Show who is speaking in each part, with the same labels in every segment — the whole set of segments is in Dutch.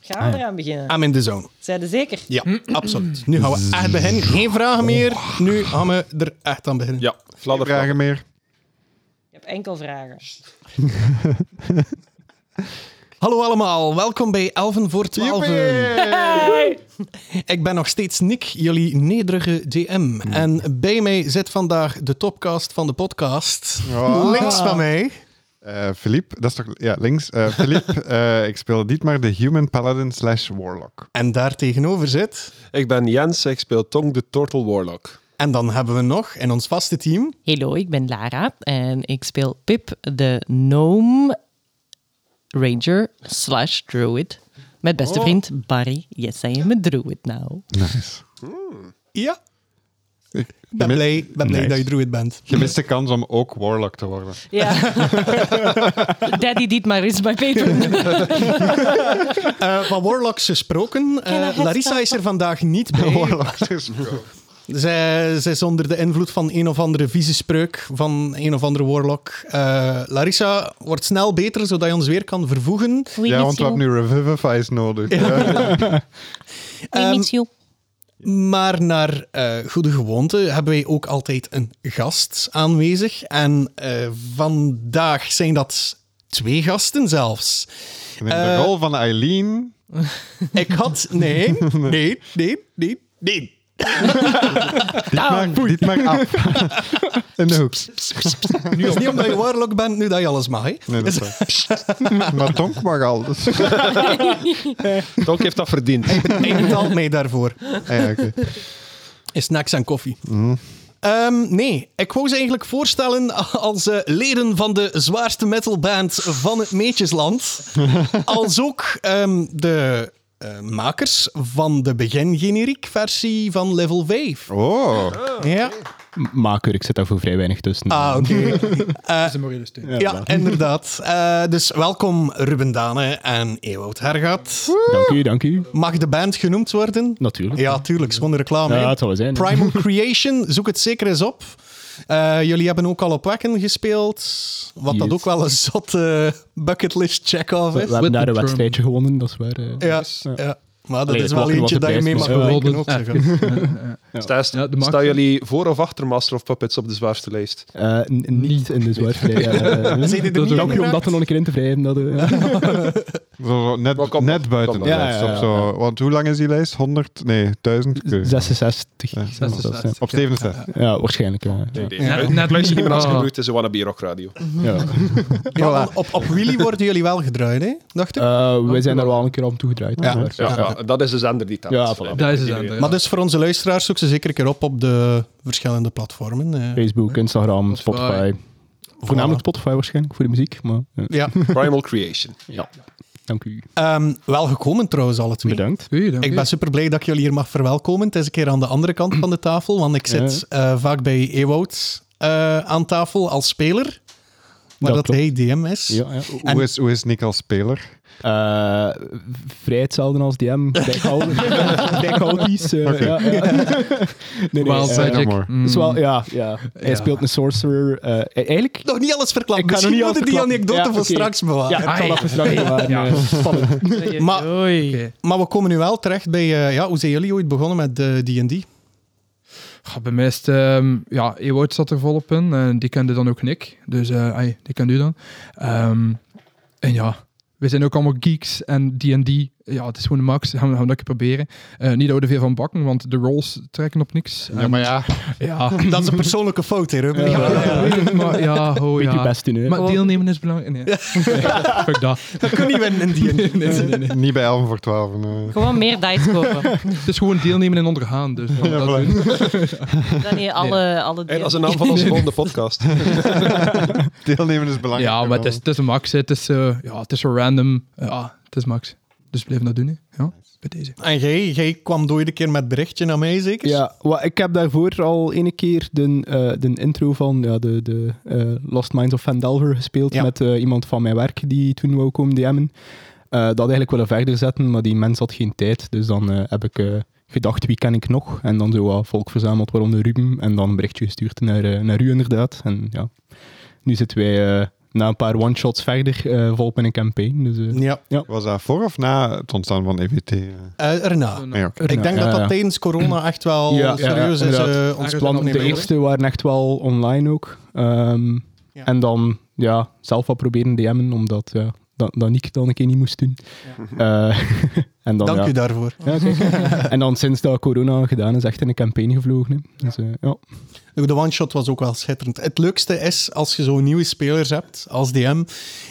Speaker 1: Gaan we
Speaker 2: Ah, ja.
Speaker 1: eraan beginnen?
Speaker 3: I'm in the zone.
Speaker 1: Zeiden zeker?
Speaker 3: Ja, absoluut. Nu gaan we echt beginnen. Hm? Oh. Geen vragen meer. Nu gaan we er echt aan beginnen.
Speaker 4: Ja, fladder.
Speaker 2: Vragen meer.
Speaker 1: Ik heb enkel vragen.
Speaker 3: Hallo allemaal, welkom bij Elven voor 12. Ik ben nog steeds Nick, jullie nederige DM. En bij mij zit vandaag de topcast van de podcast.
Speaker 2: Oh.
Speaker 3: Links van mij.
Speaker 2: Eh, Philippe, dat is toch... Ja, links. Eh Philippe, eh, ik speel Dietmar de Human Paladin slash Warlock.
Speaker 3: En daar tegenover zit.
Speaker 4: Ik ben Jens, ik speel Tong de Turtle Warlock.
Speaker 3: En dan hebben we nog in ons vaste team.
Speaker 5: Hallo, ik ben Lara en ik speel Pip, de gnome ranger slash druid. Met
Speaker 4: Oh.
Speaker 5: beste vriend Barry. Yes, I am a druid now.
Speaker 2: Nice.
Speaker 3: Ja.
Speaker 2: Ik
Speaker 3: Ben blij, ben blij
Speaker 2: Nice.
Speaker 3: dat je druid bent.
Speaker 2: Gemiste kans om ook Warlock te worden.
Speaker 1: Ja.
Speaker 5: Daddy Dietmar is my patron.
Speaker 3: Eh, van Warlocks gesproken. eh, Larissa is er vandaag niet bij.
Speaker 2: Warlock is bro.
Speaker 3: Zij, zij is onder de invloed van een of andere vieze spreuk van een of andere warlock. Eh, Larissa wordt snel beter, zodat je ons weer kan vervoegen.
Speaker 5: We
Speaker 2: Ja, want we hebben nu Revivifies nodig. Eh, Ja.
Speaker 3: Ehm,
Speaker 5: you.
Speaker 3: Maar naar eh, goede gewoonte hebben wij ook altijd een gast aanwezig. En eh, vandaag zijn dat twee gasten zelfs.
Speaker 2: En In
Speaker 3: Eh,
Speaker 2: de rol van Eileen...
Speaker 3: Ik had... Nee, nee, nee, nee, nee. ah,
Speaker 4: nou.
Speaker 5: Nou,
Speaker 2: Dietmar, Dietmar af. In de hoek.
Speaker 3: Nu is niet omdat je warlock bent, nu dat je alles mag. hè.
Speaker 2: Nee, dat is waar. Maar Tonk mag al. Dus.
Speaker 4: Tong heeft dat verdiend.
Speaker 3: Hij betaalt mij daarvoor.
Speaker 2: Ah ja, oké.
Speaker 3: Is snacks en koffie. Ehm, nee, ik wou ze eigenlijk voorstellen als eh, leden van de zwaarste metalband van het Meetjesland. als ook ehm, de eh, makers van de begin-generiek versie van Level 5.
Speaker 2: Oh.
Speaker 3: Ja.
Speaker 6: Maker, ik zit daar voor vrij weinig tussen.
Speaker 3: Ah, oké.
Speaker 7: Dat is een morele steun.
Speaker 3: Ja, inderdaad. Eh, dus welkom Ruben Dane en Ewout Hergat.
Speaker 6: Dank u, dank u.
Speaker 3: Mag de band genoemd worden?
Speaker 6: Natuurlijk.
Speaker 3: Ja, tuurlijk. Schone reclame. hè.
Speaker 6: Ja, het zal wel zijn.
Speaker 3: Primal Creation, zoek het zeker eens op. Eh, jullie hebben ook al op Wacken gespeeld. Wat dat
Speaker 6: Yes.
Speaker 3: ook wel een zotte bucketlist check-off
Speaker 6: we, we
Speaker 3: is.
Speaker 6: hebben daar
Speaker 7: With the
Speaker 6: een
Speaker 7: drum.
Speaker 6: wedstrijdje gewonnen, dat is waar. eh.
Speaker 3: Ja,
Speaker 6: Ja.
Speaker 3: ja. maar dat is
Speaker 6: Allee, dat
Speaker 3: wel
Speaker 6: was-
Speaker 3: eentje
Speaker 6: was de
Speaker 3: dat je mee mag
Speaker 6: prijs, maar-
Speaker 3: bewijken. ook, zeggen.
Speaker 4: Stijs,
Speaker 7: Ja, de max-
Speaker 4: staan jullie voor of achter Master of Puppets op de zwaarste lijst?
Speaker 6: Eh, n- niet in de zwaarte. Ja, eh,
Speaker 3: Zijn die er niet
Speaker 6: dank u om
Speaker 3: ingeraakt?
Speaker 6: dat er nog een keer in te wrijven. Dat, eh,
Speaker 2: Zo, zo,
Speaker 4: Wat
Speaker 2: net,
Speaker 4: kan
Speaker 2: net
Speaker 4: dat?
Speaker 2: buiten.
Speaker 4: Kan
Speaker 2: de
Speaker 6: dat?
Speaker 2: lijst,
Speaker 6: Ja, ja,
Speaker 2: op
Speaker 6: ja,
Speaker 2: zo, Want hoe lang is die lijst? 100? Nee, 1000? Ik weet het niet. Ja,
Speaker 6: 66. zou dat
Speaker 7: 66.
Speaker 6: zijn.
Speaker 2: Op 67.
Speaker 6: Ja, waarschijnlijk. Ja. Ja.
Speaker 4: Nee.
Speaker 7: Ja, Oh. Ah.
Speaker 4: Net,
Speaker 7: net
Speaker 4: luister niet meer als
Speaker 7: niet.
Speaker 4: gebroed, het is een wannabe rock radio.
Speaker 6: Ja. Eh,
Speaker 3: Ja, want op, op Willy worden jullie wel gedraaid, hè? dacht ik.
Speaker 6: Eh, wij zijn daar wel een keer aan toegedraaid.
Speaker 3: Ja.
Speaker 6: dat is waar.
Speaker 4: Ja, ja, dat is de zender die telt.
Speaker 6: Ja, voilà.
Speaker 7: Dat is het dan. ja.
Speaker 3: Maar dus voor onze luisteraars zoek ze zeker een keer op op de verschillende platformen. eh.
Speaker 6: Facebook, Instagram,
Speaker 7: Spotify.
Speaker 6: Spotify. Voornamelijk Spotify waarschijnlijk, voor de muziek. Maar, ja.
Speaker 3: Ja.
Speaker 4: Primal Creation.
Speaker 6: ja. Dank u.
Speaker 3: Ehm, wel gekomen trouwens, alle twee.
Speaker 6: Bedankt.
Speaker 7: Oei, dank
Speaker 3: Ik
Speaker 7: u.
Speaker 3: ben super blij dat ik jullie hier mag verwelkomen. Het is een keer aan de andere kant van de tafel, want ik zit eh, vaak bij Ewout eh, aan tafel als speler. Maar dat,
Speaker 6: Dat klopt.
Speaker 3: hij DM is.
Speaker 6: Ja, ja.
Speaker 2: Hoe, is, hoe is Nick als speler?
Speaker 6: Eh, vrij hetzelfde als DM. Dijkhoudis. Uh,
Speaker 2: Oké.
Speaker 6: ja, ja. nee, nee,
Speaker 7: Wild
Speaker 6: eh,
Speaker 7: Magic.
Speaker 2: jammer.
Speaker 7: Mm.
Speaker 6: dus wel, ja, ja. Hij
Speaker 7: Ja.
Speaker 6: speelt een sorcerer. eh, eh, eigenlijk...
Speaker 3: Nog niet alles verklapt.
Speaker 6: Ik ga
Speaker 3: Misschien
Speaker 6: nog niet
Speaker 3: moeten
Speaker 6: alles
Speaker 3: die
Speaker 6: verklappen.
Speaker 3: anekdote
Speaker 6: Ja,
Speaker 3: voor
Speaker 6: oké.
Speaker 3: straks bewaren.
Speaker 6: Ja, ik zal
Speaker 7: Ah,
Speaker 6: dat verslag bewaren. eh, spannend.
Speaker 3: Maar-
Speaker 5: Oei.
Speaker 7: Oké.
Speaker 3: Maar we komen nu wel terecht bij... eh, ja, hoe zijn jullie ooit begonnen met eh, D&D?
Speaker 7: Goh, bij mij is het, ehm, ja, Ewout zat er volop in. en die kende dan ook Nick. Dus eh, ai, die kende u dan. Ehm, en ja, we zijn ook allemaal geeks en D&D. Ja, het is gewoon de max. Gaan we, gaan we dat een keer proberen. Eh, niet dat we er veel van bakken, want de rolls trekken op niks. En-
Speaker 2: ja.
Speaker 7: Ja,
Speaker 3: Dat is een persoonlijke fout, hè, Ruben?
Speaker 7: ja, ja, weet het, maar ja, ho,
Speaker 6: Beetje
Speaker 7: ja.
Speaker 6: best doen, hè.
Speaker 7: Maar deelnemen is belangrijk. Nee, nee fuck dat.
Speaker 3: Dat kun je winnen in D&D.
Speaker 7: Nee, nee, nee, nee.
Speaker 2: Niet bij 11 voor eh. 12. nee.
Speaker 5: Gewoon meer dice kopen.
Speaker 7: Het is gewoon deelnemen en ondergaan. Dus ja, dat
Speaker 2: voilà.
Speaker 7: doen.
Speaker 5: Dan je alle, alle
Speaker 4: En als een naam van onze volgende podcast.
Speaker 2: Deelnemen is belangrijk.
Speaker 7: ja maar het is, het is een max. hè. Het is, eh, ja, het is zo random. Eh, ja, het is max. Dus blijf dat doen. Hè. Ja, bij deze.
Speaker 3: En jij, jij kwam door de keer met berichtje naar mij, zeker?
Speaker 6: Ja, wa- ik heb daarvoor al ene keer de, eh, de intro van ja, de, de eh, Lost Minds of Vandelver gespeeld
Speaker 3: Ja.
Speaker 6: met eh, iemand van mijn werk die toen wou komen DM'en. Eh, dat eigenlijk willen verder zetten, maar die mens had geen tijd. Dus dan eh, heb ik eh, gedacht, wie ken ik nog? En dan zo wat volk verzameld, waaronder Ruben. En dan een berichtje gestuurd naar, eh, naar u inderdaad. En ja, nu zitten wij eh, na een paar one-shots verder eh volop in een campaign. Dus, eh,
Speaker 3: Ja.
Speaker 2: Was dat voor of na het ontstaan van EVT? eh?
Speaker 3: Eh, erna.
Speaker 2: Nee, oké.
Speaker 3: Ik denk
Speaker 6: Ja,
Speaker 3: dat dat
Speaker 6: ja.
Speaker 3: tijdens corona echt wel
Speaker 6: Ja, ja,
Speaker 3: serieus is
Speaker 6: inderdaad.
Speaker 3: eh,
Speaker 7: Eigenlijk
Speaker 3: ontspannen.
Speaker 7: nog
Speaker 6: Want de
Speaker 7: meer,
Speaker 6: eerste waren echt wel online ook. Ehm,
Speaker 3: Ja.
Speaker 6: En dan ja, zelf wat proberen DM'en, omdat ja, dat, dat Nick dan een keer niet moest doen. Eh, en dan,
Speaker 3: Dank
Speaker 6: ja.
Speaker 3: u daarvoor.
Speaker 6: Ja, kijk. en dan sinds dat corona gedaan is, echt in een campagne gevlogen. hè. Dus, eh, ja.
Speaker 3: De one-shot was ook wel schitterend. Het leukste is als je zo nieuwe spelers hebt als DM,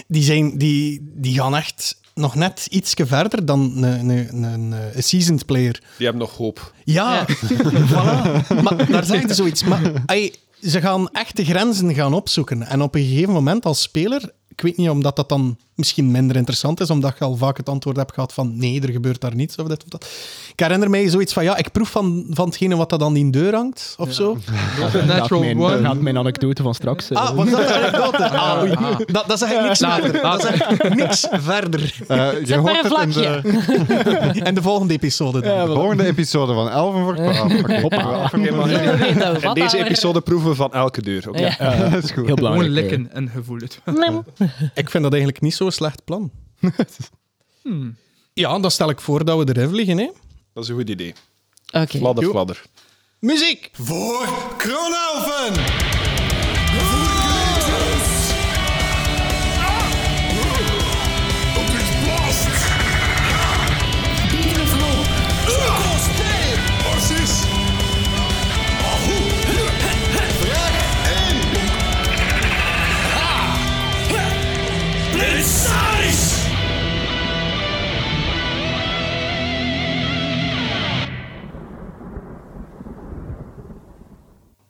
Speaker 3: die, zijn, die, die gaan echt nog net ietsje verder dan een, een, een, een seasoned player.
Speaker 4: Die hebben nog hoop.
Speaker 3: Ja, voilà. Maar daar zijn ze zoiets. Maar ey, ze gaan echt de grenzen gaan opzoeken. En op een gegeven moment als speler, ik weet niet omdat dat dan misschien minder interessant is, omdat je al vaak het antwoord hebt gehad van nee, er gebeurt daar niets of dit of dat. Ik herinner mij zoiets van ja, ik proef van, van hetgene wat dat aan die deur hangt of zo.
Speaker 7: Natural
Speaker 6: Gaat mijn, eh,
Speaker 7: one.
Speaker 6: gaat mijn anekdote van straks. eh,
Speaker 3: Ah, was dat de anekdote? Ah, oei.
Speaker 7: Ah.
Speaker 3: Dat, dat zeg ik niks verder. Dat zeg ik niks verder.
Speaker 2: Eh, je
Speaker 5: Zet maar
Speaker 2: hoort
Speaker 5: een
Speaker 2: het in de,
Speaker 5: vlakje.
Speaker 3: En de volgende episode dan.
Speaker 2: de volgende episode van Elven voor 12. Oké,
Speaker 4: In
Speaker 5: Iedereen weet dat we wat
Speaker 4: deze
Speaker 5: daar-
Speaker 4: episode proeven we van elke deur. Oké.
Speaker 5: Ja.
Speaker 2: dat is goed.
Speaker 6: heel
Speaker 7: Gewoon
Speaker 6: belangrijk. eh.
Speaker 7: likken en gevoel het.
Speaker 5: Nee.
Speaker 3: Ik vind dat eigenlijk niet zo'n slecht plan. Ja, dan stel ik voor dat we erin vliegen, hè.
Speaker 4: Dat is een goed idee.
Speaker 5: Oké.
Speaker 4: Fladder, fladder.
Speaker 3: Muziek! Voor Kronelven!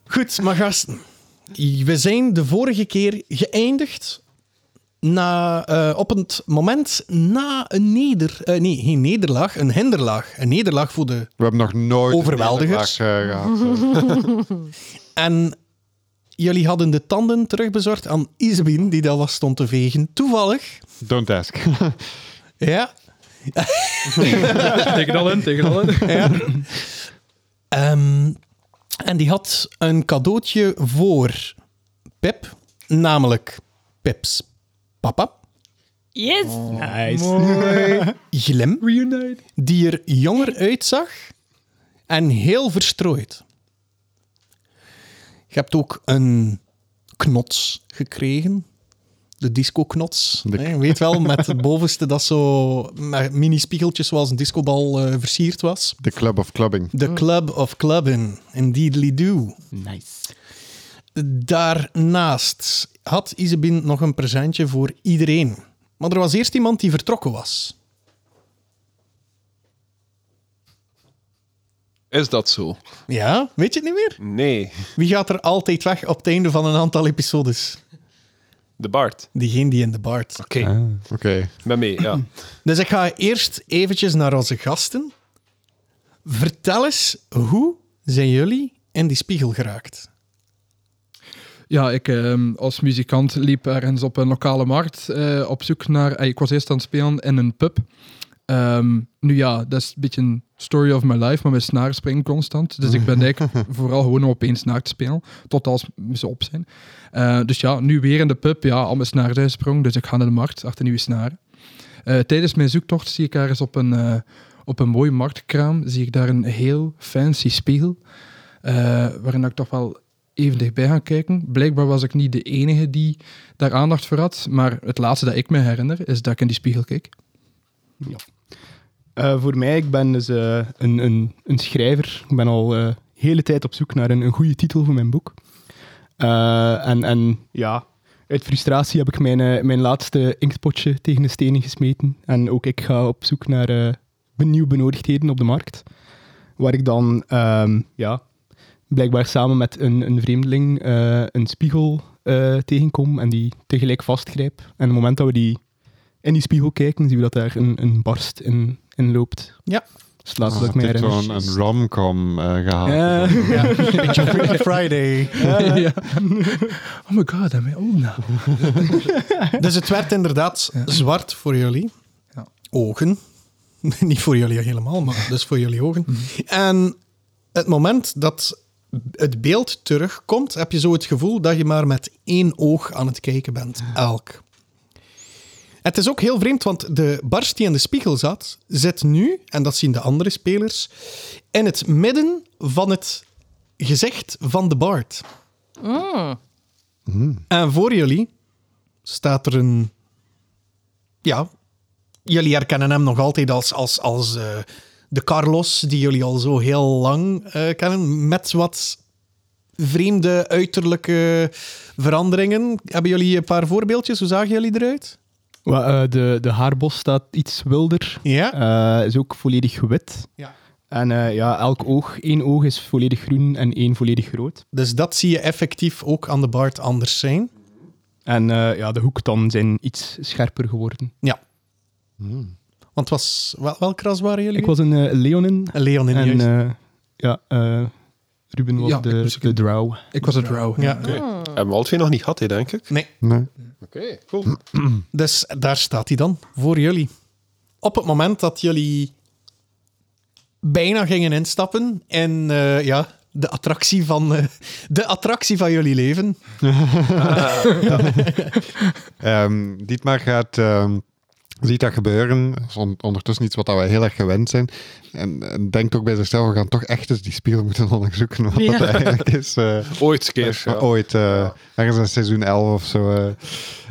Speaker 3: Goed, maar gasten. We zijn de vorige keer geëindigd na, eh, op het moment na een neder... eh, nee, geen nederlaag, een hinderlaag. Een nederlaag voor de...
Speaker 2: We hebben nog nooit een
Speaker 3: Overweldigers.
Speaker 2: nederlaag, eh, gehad. eh.
Speaker 3: En jullie hadden de tanden terugbezorgd aan Isbin, die daar was stond te vegen. Toevallig.
Speaker 2: eh. Don't ask.
Speaker 3: Ja.
Speaker 7: tegen al in, tegen al in.
Speaker 3: Ehm, en die had een cadeautje voor Pip, namelijk Pips papa,
Speaker 1: Yes!
Speaker 4: Oh.
Speaker 3: Glim,
Speaker 7: Reunite.
Speaker 3: die er jonger uitzag en heel verstrooid. Je hebt ook een knots gekregen. De disco-knots.
Speaker 2: De-
Speaker 3: hè, Weet wel, met het bovenste dat zo met mini-spiegeltjes zoals een discobal eh, versierd was.
Speaker 2: The Club of Clubbing.
Speaker 3: The Club of Clubbing, indeedly do.
Speaker 5: Nice.
Speaker 3: Daarnaast had Isabin nog een presentje voor iedereen. Maar er was eerst iemand die vertrokken was.
Speaker 4: Is dat zo?
Speaker 3: Ja, weet je het niet meer?
Speaker 4: Nee.
Speaker 3: Wie gaat er altijd weg op het einde van een aantal episodes?
Speaker 4: De Bart.
Speaker 3: Diegene die in de baard.
Speaker 4: Oké.
Speaker 2: Oké.
Speaker 4: Met mee, ja.
Speaker 3: Dus ik ga eerst eventjes naar onze gasten. Vertel eens, hoe zijn jullie in die spiegel geraakt?
Speaker 7: Ja, ik ehm, als muzikant liep ergens op een lokale markt eh, op zoek naar... eh, ik was eerst aan het spelen in een pub. Ehm, nu ja, dat is een beetje een story of my life, maar mijn snaren springen constant. Dus ik ben eigenlijk vooral gewoon om op één snaar te spelen, tot als ze op zijn. Eh, dus ja, nu weer in de pub, ja, al mijn snaar zijn sprong, dus ik ga naar de markt achter nieuwe snaren. Eh, tijdens mijn zoektocht zie ik ergens op een, eh, op een mooie marktkraam, zie ik daar een heel fancy spiegel, eh, waarin ik toch wel even dichtbij gaan kijken. Blijkbaar was ik niet de enige die daar aandacht voor had, maar het laatste dat ik me herinner is dat ik in die spiegel keek.
Speaker 6: Eh, voor mij, ik ben dus eh, een, een, een schrijver. Ik ben al eh hele tijd op zoek naar een, een goede titel voor mijn boek. Eh, en, en ja, uit frustratie heb ik mijn, eh, mijn laatste inktpotje tegen de stenen gesmeten. En ook ik ga op zoek naar eh nieuwe benodigdheden op de markt. Waar ik dan ehm, ja, blijkbaar samen met een, een vreemdeling eh, een spiegel eh, tegenkom en die tegelijk vastgrijp. En op het moment dat we die in die spiegel kijken, zien we dat daar een, een barst in, in loopt.
Speaker 3: Ja.
Speaker 6: Dus het laatste
Speaker 2: Ah,
Speaker 6: dat ik mij
Speaker 2: het heeft
Speaker 6: herinner.
Speaker 2: zo'n een romcom eh gehaald.
Speaker 6: Ja.
Speaker 3: Friday.
Speaker 7: Ja. Oh nou. my god, I'm old now.
Speaker 3: Dus het werd inderdaad zwart voor jullie.
Speaker 7: Ja.
Speaker 3: Ogen. Niet voor jullie helemaal, maar dus voor jullie ogen. En het moment dat het beeld terugkomt, heb je zo het gevoel dat je maar met één oog aan het kijken bent, elk. Het is ook heel vreemd, want de barst die in de spiegel zat, zit nu, en dat zien de andere spelers, in het midden van het gezicht van de bard. En voor jullie staat er een... Ja, jullie herkennen hem nog altijd als, als, als eh, de Carlos die jullie al zo heel lang eh, kennen. Met wat vreemde uiterlijke veranderingen. Hebben jullie een paar voorbeeldjes? Hoe zagen jullie eruit?
Speaker 6: Wa- eh, de, de haarbos staat iets wilder.
Speaker 3: Ja.
Speaker 6: Eh, is ook volledig wit.
Speaker 3: Ja.
Speaker 6: En eh, ja, elk oog, één oog is volledig groen en één volledig rood.
Speaker 3: Dus dat zie je effectief ook aan de baard anders zijn.
Speaker 6: En eh, ja, de hoektanden zijn iets scherper geworden.
Speaker 3: Ja. Want het was, wel, welk ras waren jullie?
Speaker 6: Ik was een eh, Leonin.
Speaker 3: Een Leon in
Speaker 6: En
Speaker 3: juist.
Speaker 6: eh, ja, eh, Ruben was
Speaker 7: Ja, ik
Speaker 6: de,
Speaker 7: moest
Speaker 6: de drow.
Speaker 7: Ik was het Drow.
Speaker 3: Ja.
Speaker 4: Hebben we al twee nog niet gehad, hè, denk ik.
Speaker 3: Nee.
Speaker 2: Nee.
Speaker 4: Oké, cool.
Speaker 3: Dus daar staat hij dan, voor jullie. Op het moment dat jullie bijna gingen instappen en eh, ja, de attractie van, eh, de attractie van jullie leven.
Speaker 2: Ehm, Dietmar gaat, ehm, ziet dat gebeuren. Dat is on- ondertussen iets wat dat wij heel erg gewend zijn. En, en denkt ook bij zichzelf, we gaan toch echt eens die spiegel moeten onderzoeken. Wat
Speaker 5: Ja.
Speaker 2: dat eigenlijk is. eh,
Speaker 4: Ooit een keer. Ja.
Speaker 2: Maar Ooit, eh, ergens in seizoen 11 of zo. eh.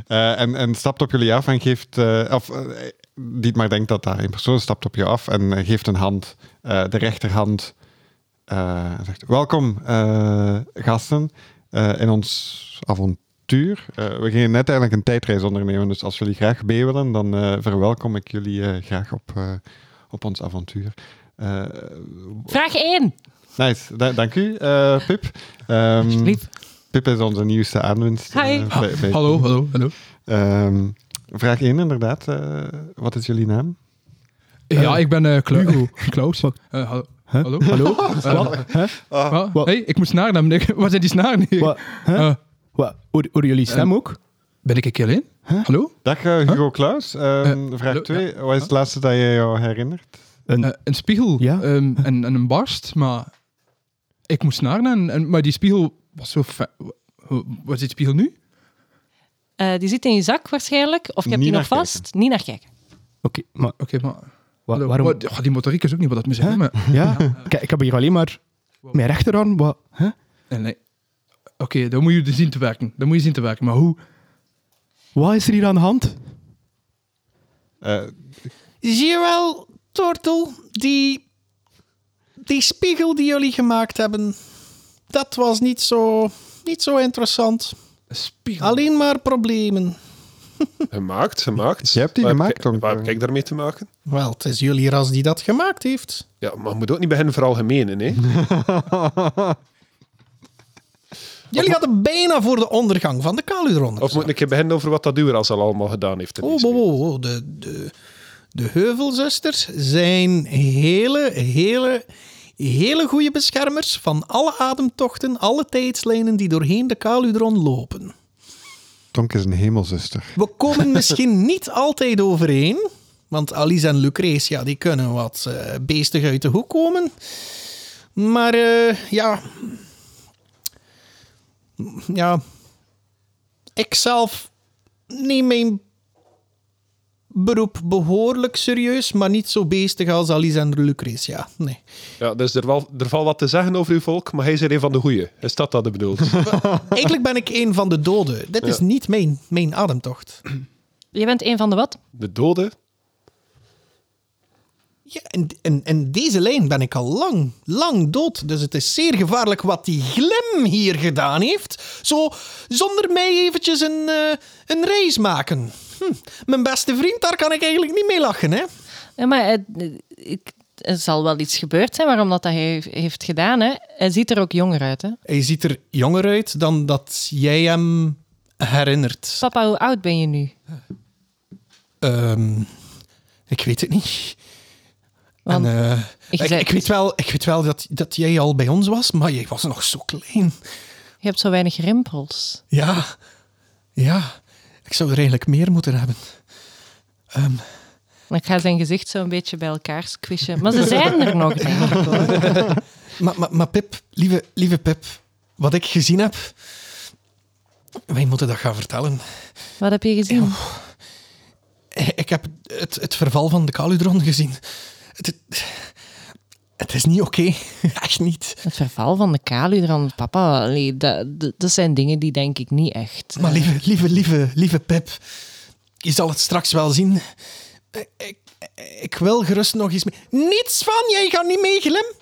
Speaker 2: Eh, en, en stapt op jullie af en geeft... eh, of, eh, Dietmar denkt dat daar een persoon stapt op je af en eh, geeft een hand, eh, de rechterhand. eh, en zegt, welkom eh, gasten eh, in ons avontuur. Eh, we gingen net eigenlijk een tijdreis ondernemen, dus als jullie graag mee willen, dan eh, verwelkom ik jullie eh, graag op, eh, op ons avontuur. Eh,
Speaker 5: Vraag 1.
Speaker 2: nice, Da- dank u, eh, Pip.
Speaker 4: Mm.
Speaker 2: Ehm,
Speaker 5: Alsjeblieft.
Speaker 2: Pip is onze nieuwste aanwinst.
Speaker 5: Hi.
Speaker 2: eh, bij- bij-
Speaker 7: Hallo, hallo, hallo.
Speaker 2: Ehm, vraag 1 inderdaad. eh, wat is jullie naam?
Speaker 7: Ja, ik ben eh Kla- Klaus. Eh, hallo. Hallo? Hallo? Eh,
Speaker 6: Wat? Hè? Wat?
Speaker 7: hey, ik moest nadenken. Ik- Waar zijn die snaren? hier?
Speaker 6: Wat? Hè?
Speaker 7: Eh,
Speaker 6: Wat? Hoor- horen jullie stem ook?
Speaker 7: ben ik een alleen? Hallo?
Speaker 2: Dag eh, Hugo Klaus. Ehm,
Speaker 7: Eh,
Speaker 2: vraag
Speaker 7: hallo,
Speaker 2: 2. Wat is het laatste dat je jou herinnert?
Speaker 6: Een,
Speaker 7: Eh, een spiegel
Speaker 6: Ja?
Speaker 7: ehm, en, en een barst, maar ik moest nadenken. En, en- maar die spiegel was zo... fe- Wa- Waar zit die spiegel nu?
Speaker 5: Eh, die zit in je zak waarschijnlijk. Of je hebt
Speaker 2: Niet
Speaker 5: die nog
Speaker 2: naar kijken.
Speaker 5: vast. Niet naar kijken.
Speaker 6: Oké, maar
Speaker 7: Oké, maar...
Speaker 6: wa-
Speaker 7: hallo.
Speaker 6: waarom?
Speaker 7: Wat- ja, die motoriek is ook niet wat dat moet zijn. maar-
Speaker 6: Ja, Kijk, ik heb hier alleen maar mijn rechterarm. Wat? Hè?
Speaker 7: en nee. Oké, dan moet je dus zien te werken. Dan moet je zien te werken. Maar hoe?
Speaker 6: Wat is er hier aan de hand?
Speaker 2: Eh,
Speaker 3: Zie je wel, Tortel, die, die spiegel die jullie gemaakt hebben, dat was niet zo, niet zo interessant.
Speaker 7: Een spiegel.
Speaker 3: Alleen maar problemen.
Speaker 4: Gemaakt, gemaakt.
Speaker 2: Je hebt die
Speaker 4: Waar heb
Speaker 2: gemaakt,
Speaker 4: ik-
Speaker 2: Tom.
Speaker 4: Waar heb ik daarmee te maken?
Speaker 3: Wel, het is jullie ras die dat gemaakt heeft.
Speaker 4: Ja, maar je moet ook niet beginnen vooral gemenen, hè.
Speaker 3: Jullie hadden bijna voor de ondergang van de Kaludron.
Speaker 4: Of moet ik je beginnen over wat dat Duras al allemaal gedaan heeft? in
Speaker 3: Oh,
Speaker 4: deze
Speaker 3: wow, wow, wow. De, de, de heuvelzusters zijn hele, hele, hele goede beschermers van alle ademtochten, alle tijdslijnen die doorheen de Kaludron lopen.
Speaker 2: Tonk is een hemelzuster.
Speaker 3: We komen misschien niet altijd overeen, want Alice en Lucretia die kunnen wat eh, beestig uit de hoek komen. Maar eh, ja... Ja... Ik zelf neem mijn beroep behoorlijk serieus, maar niet zo beestig als Alice en Lucretia. Nee.
Speaker 4: week. Ja, dus er, wel, er valt wat te zeggen over uw volk, maar hij is er een van de goeie. Is dat dat bedoeld?
Speaker 3: Eigenlijk ben ik een van de doden. Dit is
Speaker 4: Ja.
Speaker 3: niet mijn, mijn ademtocht.
Speaker 5: Je bent een van de wat?
Speaker 4: De doden?
Speaker 3: Ja, en, en, en deze lijn ben ik al lang, lang dood. Dus het is zeer gevaarlijk wat die glim hier gedaan heeft. Zo, zonder mij eventjes een, eh, een race maken. Hm, mijn beste vriend, daar kan ik eigenlijk niet mee lachen, hè?
Speaker 5: Ja, maar eh, ik, er zal wel iets gebeurd zijn waarom dat hij heeft- heeft gedaan. Hè. Hij ziet er ook jonger uit. Hè.
Speaker 3: Hij ziet er jonger uit dan dat jij hem herinnert.
Speaker 5: Papa, hoe oud ben je nu?
Speaker 3: Ehm, ik weet het niet.
Speaker 5: Want
Speaker 3: en, eh,
Speaker 5: ik
Speaker 3: ik,
Speaker 5: zei-
Speaker 3: ik weet wel, ik weet wel dat, dat jij al bij ons was, maar jij was nog zo klein.
Speaker 5: Je hebt zo weinig rimpels.
Speaker 3: Ja, ja. Ik zou er eigenlijk meer moeten hebben.
Speaker 5: Maar Ik ga zijn gezicht zo een beetje bij elkaar squishen. Maar ze zijn er nog, denk ik. hoor.
Speaker 3: Maar, maar, maar Pip, lieve, lieve Pip, wat ik gezien heb... Wij moeten dat gaan vertellen.
Speaker 5: Wat heb je gezien?
Speaker 3: Ik heb het, het verval van de Caludron gezien. Het, het, het is niet oké. Echt niet.
Speaker 5: Het verval van de Caludran, papa. allee, dat, dat, dat zijn dingen die denk ik niet echt.
Speaker 3: Maar lieve, lieve, lieve, lieve Pip. Je zal het straks wel zien. Ik, ik wil gerust nog iets mee. Niets van, jij gaat niet mee, Glim.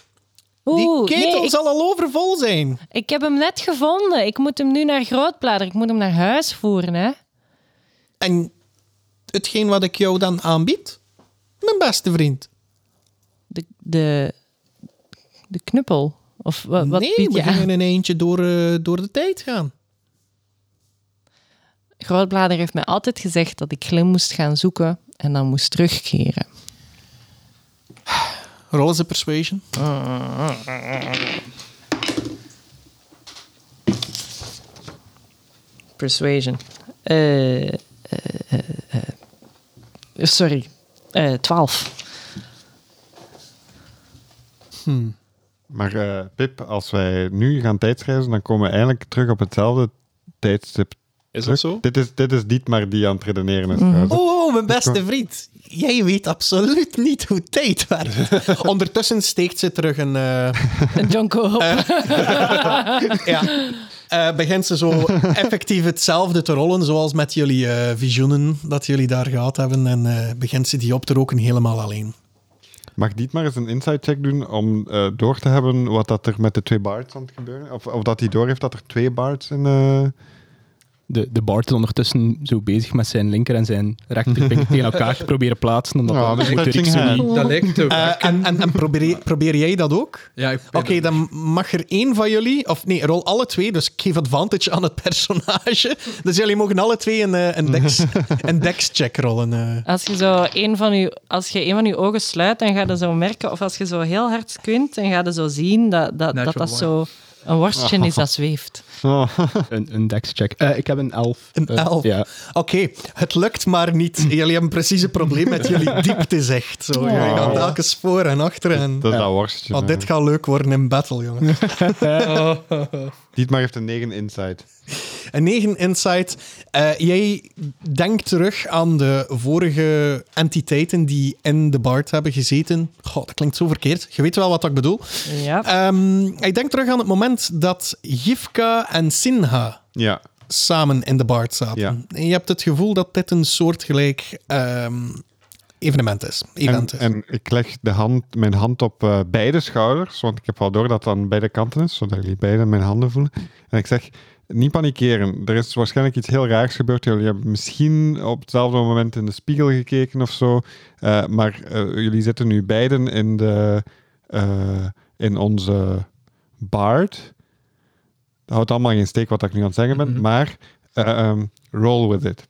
Speaker 3: Die
Speaker 5: Oeh,
Speaker 3: ketel
Speaker 5: nee, ik,
Speaker 3: zal al overvol zijn.
Speaker 5: ik heb hem net gevonden. Ik moet hem nu naar Grootblader. Ik moet hem naar huis voeren, hè.
Speaker 3: En hetgeen wat ik jou dan aanbied, mijn beste vriend.
Speaker 5: De, de, de knuppel. Of wat, wat
Speaker 3: nee,
Speaker 5: bied
Speaker 3: we
Speaker 5: je aan?
Speaker 3: gingen in eentje door, eh, door de tijd gaan.
Speaker 5: Grootblader heeft mij altijd gezegd dat ik Glim moest gaan zoeken en dan moest terugkeren.
Speaker 3: Roll is a persuasion.
Speaker 5: Persuasion. Eh, eh, eh, eh. sorry. Eh, 12.
Speaker 2: Maar eh, Pip, als wij nu gaan tijdsreizen, dan komen we eigenlijk terug op hetzelfde tijdstip.
Speaker 4: Is
Speaker 2: terug.
Speaker 4: dat zo?
Speaker 2: Dit is, dit is Dietmar die aan het redeneren is. trouwens.
Speaker 3: Oh, mijn beste vriend. Jij weet absoluut niet hoe tijd werkt. Ondertussen steekt ze terug een... eh,
Speaker 5: Jonko op.
Speaker 3: ja. Eh, begint ze zo effectief hetzelfde te rollen, zoals met jullie eh, visioenen dat jullie daar gehad hebben. En eh, begint ze die op te roken helemaal alleen.
Speaker 2: Mag Dietmar eens een inside check doen om eh, door te hebben wat dat er met de twee bards aan het gebeuren Of, of dat hij door heeft dat er twee bards in... eh,
Speaker 6: De, de Bart is ondertussen zo bezig met zijn linker en zijn rechterpink tegen elkaar te proberen plaatsen. Omdat
Speaker 2: Ja,
Speaker 6: dat
Speaker 2: dus
Speaker 6: moet de
Speaker 2: touching
Speaker 6: Rixo
Speaker 2: hand.
Speaker 6: niet-
Speaker 7: Dat lijkt te
Speaker 3: Eh,
Speaker 7: werken.
Speaker 3: en en, en probeer, probeer jij dat ook?
Speaker 7: ja, ik
Speaker 3: Oké, dan mag er één van jullie, of nee, rol alle twee, dus ik geef advantage aan het personage. Dus jullie mogen alle twee een, eh, een, dex, een dex check rollen. eh.
Speaker 5: Als je zo een van je, als je een van je ogen sluit, dan ga je zo merken, of als je zo heel hard squint, dan ga je zo zien dat dat, dat,
Speaker 7: Natural
Speaker 5: dat zo een worstje is dat zweeft.
Speaker 6: Een, een dex-check. Eh, ik heb een elf.
Speaker 3: Een
Speaker 6: Eh,
Speaker 3: elf?
Speaker 6: ja.
Speaker 3: Oké, het lukt maar niet. Jullie hebben precies een probleem met jullie diepte, zegt. Zo, jullie gaan telkens voor en achter. En,
Speaker 2: dat is dat worstje.
Speaker 3: want
Speaker 2: eh.
Speaker 3: dit gaat leuk worden in battle, jongen.
Speaker 2: Dietmar heeft een 9 inside.
Speaker 3: Een 9 insight. Eh, jij denkt terug aan de vorige entiteiten die in de Bard hebben gezeten. Goh, dat klinkt zo verkeerd. Je weet wel wat ik bedoel.
Speaker 5: Ja.
Speaker 3: Ehm, ik denk terug aan het moment dat Gifka en Sinha
Speaker 2: Ja.
Speaker 3: samen in de Bard zaten.
Speaker 2: Ja.
Speaker 3: En je hebt het gevoel dat dit een soortgelijk ehm, evenement is.
Speaker 2: En,
Speaker 3: Event is.
Speaker 2: en ik leg de hand, mijn hand op eh, beide schouders, want ik heb wel door dat aan beide kanten is, zodat jullie beide mijn handen voelen. En ik zeg, niet panikeren. Er is waarschijnlijk iets heel raars gebeurd. Jullie hebben misschien op hetzelfde moment in de spiegel gekeken of zo. eh, maar eh, jullie zitten nu beiden in, de, eh, in onze baard. Dat houdt allemaal geen steek wat ik nu aan het zeggen ben, maar eh, ehm, roll with it.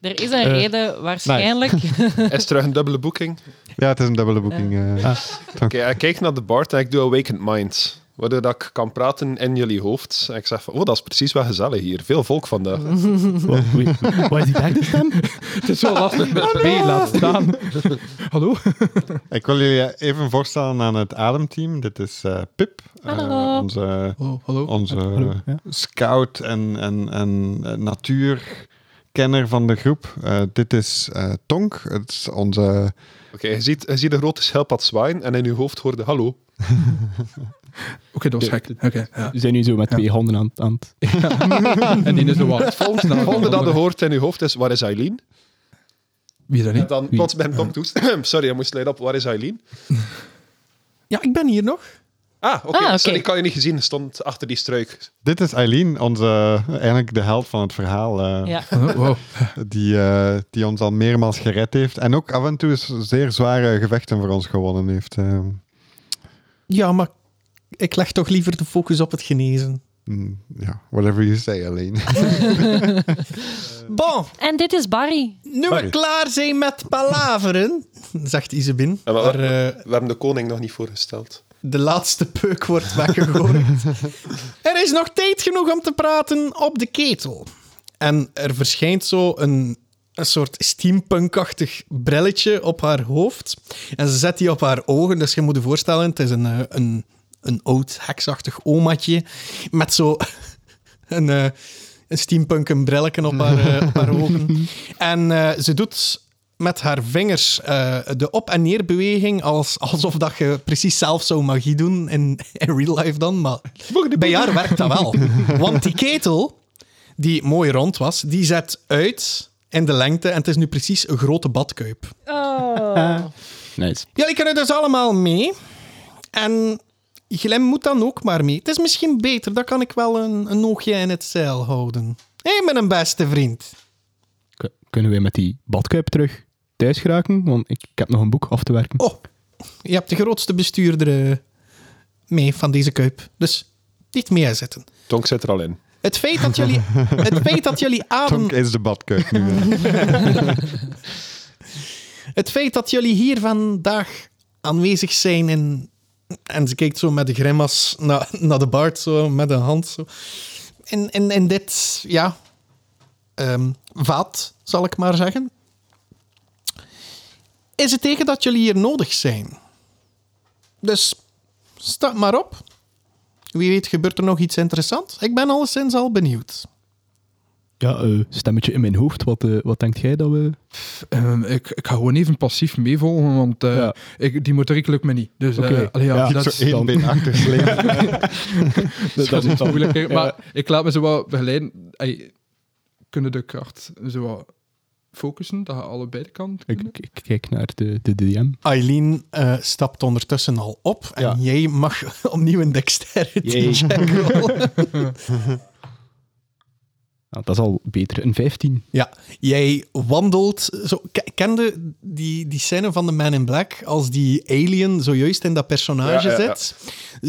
Speaker 5: Er is een reden waarschijnlijk.
Speaker 4: Is er een dubbele boeking?
Speaker 2: Ja, het is een dubbele boeking. eh.
Speaker 4: Oké, ik kijk naar de Bart en ik doe Awakened Minds. Waardoor dat ik kan praten in jullie hoofd. En ik zeg van, oh, dat is precies wel gezellig hier. Veel volk vandaag.
Speaker 6: Wat, wie- wat is die derde stem?
Speaker 7: Het is zo lastig met B laten staan. Hallo?
Speaker 2: Ik wil jullie even voorstellen aan het ademteam. Dit is eh, Pip, eh,
Speaker 5: Hallo.
Speaker 2: onze,
Speaker 7: Oh, hallo.
Speaker 2: onze
Speaker 6: ja.
Speaker 2: scout en, en, en eh, natuurkenner van de groep. Eh, dit is eh, Tonk, het is onze...
Speaker 4: Oké, je, ziet, je ziet een grote schelpad zwaaien en in uw hoofd hoorde hallo.
Speaker 7: Oké, dat was gek. Oké, ja.
Speaker 6: We zijn nu zo met twee handen aan, aan het...
Speaker 7: En die is de wat.
Speaker 4: Het volgende dat je hoort in uw hoofd is, waar is Eileen?
Speaker 7: Wie is dat
Speaker 4: En
Speaker 7: niet?
Speaker 4: dan
Speaker 7: Wie?
Speaker 4: plots ben ik op toest. Sorry, ik moest leiden op, waar is Eileen?
Speaker 3: Ja, ik ben hier nog.
Speaker 4: Ah, oké,
Speaker 5: Ah, oké.
Speaker 4: sorry, ik had je niet gezien. stond achter die struik.
Speaker 2: Dit is Eileen, onze, eigenlijk de held van het verhaal. eh,
Speaker 5: Ja.
Speaker 7: Oh, wow.
Speaker 2: die, eh, die ons al meermaals gered heeft. En ook af en toe eens zeer zware gevechten voor ons gewonnen heeft. eh.
Speaker 3: Ja, maar ik leg toch liever de focus op het genezen.
Speaker 2: Mm, ja, whatever you say, Eileen.
Speaker 3: Bon,
Speaker 5: En dit is Barry.
Speaker 3: nu we
Speaker 2: Barry.
Speaker 3: klaar zijn met palaveren, zegt Isabin.
Speaker 4: Ja, maar-
Speaker 3: haar, eh,
Speaker 4: We hebben de koning nog niet voorgesteld.
Speaker 3: de laatste peuk wordt weggegooid. er is nog tijd genoeg om te praten op de ketel. En er verschijnt zo een een soort steampunkachtig brilletje op haar hoofd. En ze zet die op haar ogen. Dus je moet je voorstellen, het is een, eh, een, een oud, heksachtig omaatje met zo een, eh een steampunk een brilletje op haar, eh, op haar ogen. En eh, ze doet met haar vingers eh, de op- en neerbeweging als, alsof dat je precies zelf zou magie doen in, in real life dan. Maar bij haar werkt dat wel. Want die ketel, die mooi rond was, die zet uit in de lengte en het is nu precies een grote badkuip.
Speaker 1: Oh.
Speaker 6: Nice.
Speaker 3: Jullie kunnen dus allemaal mee. En Glem moet dan ook maar mee. Het is misschien beter, dan kan ik wel een, een oogje in het zeil houden. Hé, mijn beste vriend.
Speaker 6: K- kunnen we met die badkuip terug thuis geraken? Want ik, ik heb nog een boek af te werken.
Speaker 3: Oh, je hebt de grootste bestuurder eh, mee van deze kuip. Dus niet meer zitten.
Speaker 4: Tonk zit er al in.
Speaker 3: Het feit dat jullie, het feit dat jullie adem
Speaker 2: Tonk is de badkuip nu. hè.
Speaker 3: Het feit dat jullie hier vandaag aanwezig zijn en... En ze kijkt zo met de grimas naar, naar de baard, zo, met een hand. Zo. En, en, en dit, ja... ehm, vaat, zal ik maar zeggen. Is het teken dat jullie hier nodig zijn. Dus, sta maar op. Wie weet gebeurt er nog iets interessants. Ik ben alleszins al benieuwd.
Speaker 6: Ja, eh, stemmetje in mijn hoofd. Wat, eh, wat denkt jij dat we...
Speaker 7: Ehm, ik, ik ga gewoon even passief meevolgen, want eh,
Speaker 6: Ja.
Speaker 7: ik, die motoriek lukt me niet. Dus eh,
Speaker 6: Oké.
Speaker 7: allee, ja,
Speaker 6: Ja.
Speaker 7: dat
Speaker 2: Zo
Speaker 7: is
Speaker 2: één been achtergelegen.
Speaker 6: Dat, dat is dan-
Speaker 7: moeilijker.
Speaker 6: Ja.
Speaker 7: Maar ik laat me zo wat begeleiden. Ey, kunnen de kracht zo wat focussen, dat je allebei de kant
Speaker 6: Ik,
Speaker 7: kunnen?
Speaker 6: ik- ik kijk naar de, de DM.
Speaker 3: Eileen eh, stapt ondertussen al op. En
Speaker 6: Ja.
Speaker 3: jij mag opnieuw een dexterity
Speaker 6: Jee.
Speaker 3: check rollen.
Speaker 6: Nou, dat is al beter. Een 15.
Speaker 3: Ja, jij wandelt. Zo, Ke- kende die, die scène van de Man in Black als die alien zojuist in dat personage
Speaker 4: Ja, ja, ja.
Speaker 3: zit?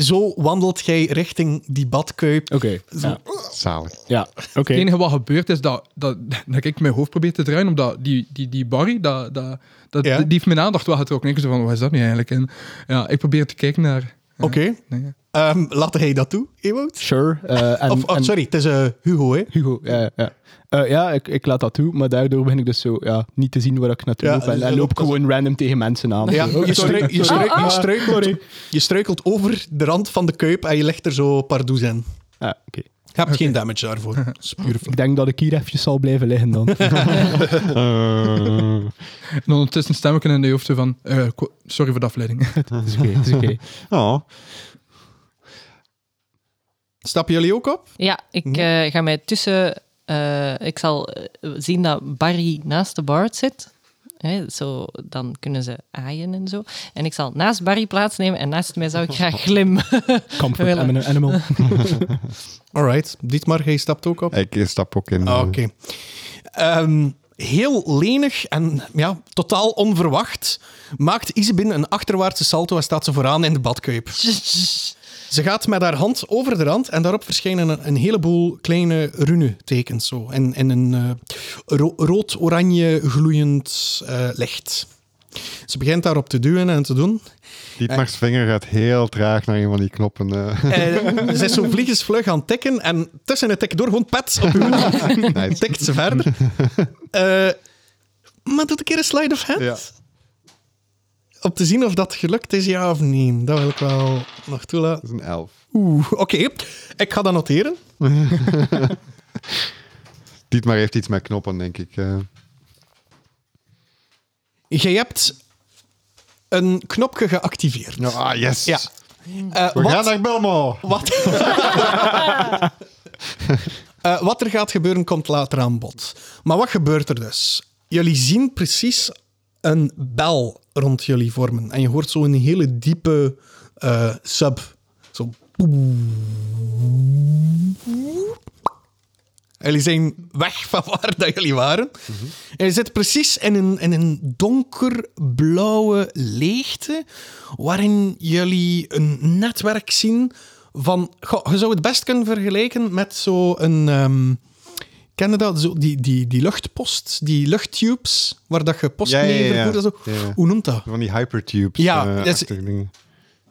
Speaker 3: Zo wandelt jij richting die badkuip.
Speaker 6: Oké.
Speaker 3: Zo-
Speaker 6: Ja,
Speaker 2: Zalig.
Speaker 6: ja. oké.
Speaker 7: Het enige wat gebeurt is dat, dat, dat ik mijn hoofd probeer te draaien, omdat die, die, die Barry, dat, dat, dat,
Speaker 3: Ja.
Speaker 7: die heeft mijn aandacht wel getrokken. Ik zo van, wat is dat nu eigenlijk? En ja, ik probeer te kijken naar...
Speaker 3: Oké,
Speaker 7: Nee,
Speaker 3: ehm, laat hij dat toe, Ewout?
Speaker 6: Sure. eh, en,
Speaker 3: Of, oh,
Speaker 6: en-
Speaker 3: sorry, het is eh, Hugo, hè?
Speaker 6: Hugo, ja. Ja, Eh, ja ik, ik laat dat toe, maar daardoor begin ik dus zo ja, niet te zien waar ik naartoe
Speaker 3: Ja,
Speaker 6: loop.
Speaker 3: dus
Speaker 6: En,
Speaker 3: je
Speaker 6: en loop
Speaker 3: loopt als-
Speaker 6: gewoon random tegen mensen aan.
Speaker 3: Ja,
Speaker 6: Zo.
Speaker 3: je, struik- je, struik- je, struikelt, je struikelt over de rand van de kuip en je legt er zo pardoes in.
Speaker 6: Ah, oké.
Speaker 3: Je hebt geen damage daarvoor. Dat is puur
Speaker 6: Ik denk dat ik hier even zal blijven liggen dan.
Speaker 2: Eh,
Speaker 7: En ondertussen stem ik in de hoofd zo van, eh, ko- sorry voor de afleiding.
Speaker 6: Het is oké, het is oké.
Speaker 2: oh.
Speaker 3: Stappen jullie ook op?
Speaker 5: Ja, ik eh, ga mij tussen. eh, ik zal eh, zien dat Barry naast de Bard zit. Hè, zo, dan kunnen ze aaien en zo. En ik zal naast Barry plaatsnemen en naast mij zou ik graag Glim.
Speaker 6: Comfort
Speaker 5: Wel,
Speaker 6: animal- animal.
Speaker 3: Alright, Dietmar, jij stapt ook op.
Speaker 2: Ik stap ook in. eh,
Speaker 3: Oké. Ehm, heel lenig en ja, totaal onverwacht maakt Isabin een achterwaartse salto en staat ze vooraan in de badkuip. Ze gaat met haar hand over de rand en daarop verschijnen een, een heleboel kleine runetekens. Zo, in, in een eh, ro- rood-oranje gloeiend eh, licht. Ze begint daarop te duwen en te doen.
Speaker 2: Dietmar's vinger gaat heel traag naar een van die knoppen. eh.
Speaker 3: Eh, ze is zo vliegensvlug aan het tikken en tussen het tikken door gewoon pet op uw
Speaker 2: Nice.
Speaker 3: tikt ze verder. Eh, maar doet een keer een slide of hand.
Speaker 2: Ja.
Speaker 3: Om te zien of dat gelukt is, ja of nee. Dat wil ik wel nog toelaten.
Speaker 2: Dat is een elf.
Speaker 3: Oeh, oké. Ik ga dat noteren.
Speaker 2: Dietmar heeft iets met knoppen, denk ik. eh.
Speaker 3: Jij hebt een knopje geactiveerd.
Speaker 2: Nou, ah, yes.
Speaker 3: Ja. Eh,
Speaker 2: We gaan
Speaker 3: wat,
Speaker 2: naar Belmo.
Speaker 3: wat, Eh, wat er gaat gebeuren, komt later aan bod. Maar wat gebeurt er dus? Jullie zien precies een bel rond jullie vormen. En je hoort zo'n hele diepe eh, sub. Zo. Jullie zijn weg van waar dat jullie waren. En je zit precies in een, in een donkerblauwe leegte, waarin jullie een netwerk zien van... Goh, je zou het best kunnen vergelijken met zo'n... ehm ken je dat? Zo, die, die, die luchtpost, die luchttubes, waar dat je post
Speaker 2: Ja, ja,
Speaker 3: mee
Speaker 2: ja, ja.
Speaker 3: vervoert en zo.
Speaker 2: Ja, ja.
Speaker 3: Hoe noemt dat?
Speaker 2: Van die hypertubes.
Speaker 3: Ja,
Speaker 2: eh,
Speaker 3: dat is-
Speaker 2: achtige dingen.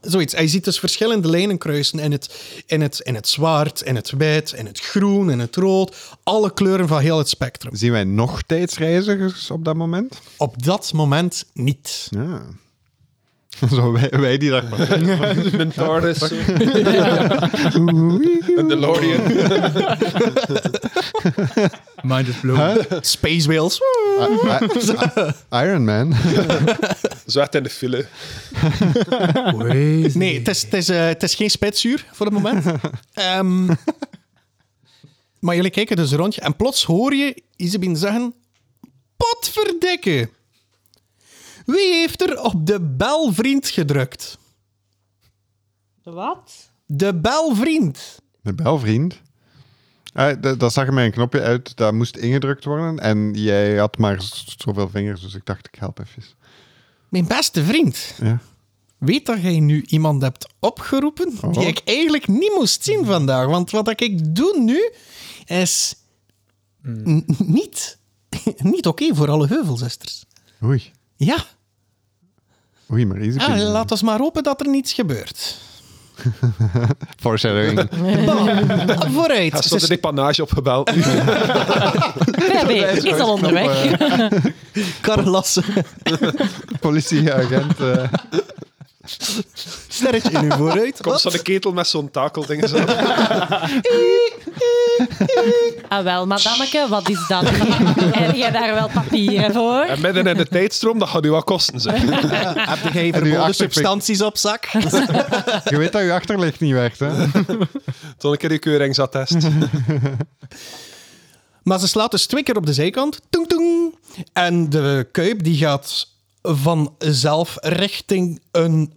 Speaker 3: zoiets. Hij ziet dus verschillende lijnen kruisen in het, in, het, in het zwart, in het wit, in het groen, in het rood. Alle kleuren van heel het spectrum.
Speaker 2: Zien wij nog tijdsreizigers op dat moment?
Speaker 3: Op dat moment niet.
Speaker 2: Ja. Zo, wij, wij die daar maar.
Speaker 4: Mentaurus. Een DeLorean.
Speaker 7: Mind is blown.
Speaker 3: Space whales.
Speaker 2: I- I- I- Iron Man.
Speaker 4: Zwart in de file.
Speaker 7: Crazy.
Speaker 3: Nee, het is, het, is, eh, het is geen spitsuur voor het moment. Ehm, maar jullie kijken dus rondje en plots hoor je Isabin zeggen... Potverdikke! Wie heeft er op de belvriend gedrukt?
Speaker 1: De wat?
Speaker 3: De belvriend.
Speaker 2: De belvriend. Ah, d- dat zag er mij een knopje uit, dat moest ingedrukt worden. En jij had maar z- zoveel vingers, dus ik dacht, ik help even.
Speaker 3: Mijn beste vriend.
Speaker 2: Ja.
Speaker 3: Weet dat jij nu iemand hebt opgeroepen die
Speaker 2: Oh.
Speaker 3: ik eigenlijk niet moest zien vandaag? Want wat ik doe nu is n- niet, niet oké voor alle heuvelzusters.
Speaker 2: Oei.
Speaker 3: Ja,
Speaker 2: Oei, maar easy.
Speaker 3: ah,
Speaker 2: peasy.
Speaker 3: laat ons maar hopen dat er niets gebeurt.
Speaker 2: Foreshadowing.
Speaker 3: Ah,
Speaker 4: Hij
Speaker 3: Vooruit.
Speaker 4: stond de
Speaker 3: Ze,
Speaker 4: depanage opgebeld.
Speaker 5: PHB is al onderweg.
Speaker 3: Carlas,
Speaker 2: Politieagent. eh,
Speaker 3: sterretje nu vooruit.
Speaker 4: Komt
Speaker 3: Wat?
Speaker 4: zo'n ketel met zo'n takelding. Zo.
Speaker 5: Ah wel, madameke, wat is dat? Heb je daar wel papieren voor?
Speaker 4: En midden in de tijdstroom, dat gaat u wat kosten. Zeg.
Speaker 3: Heb jij
Speaker 2: uw
Speaker 3: verboden
Speaker 2: achterpik.
Speaker 3: substanties op zak?
Speaker 2: je weet dat je achterlicht niet werkt, hè?
Speaker 4: Toen een keer die keuringsattest.
Speaker 3: Maar ze slaat dus twee keer op de zijkant. Toeng, toeng. En de kuip die gaat vanzelf richting een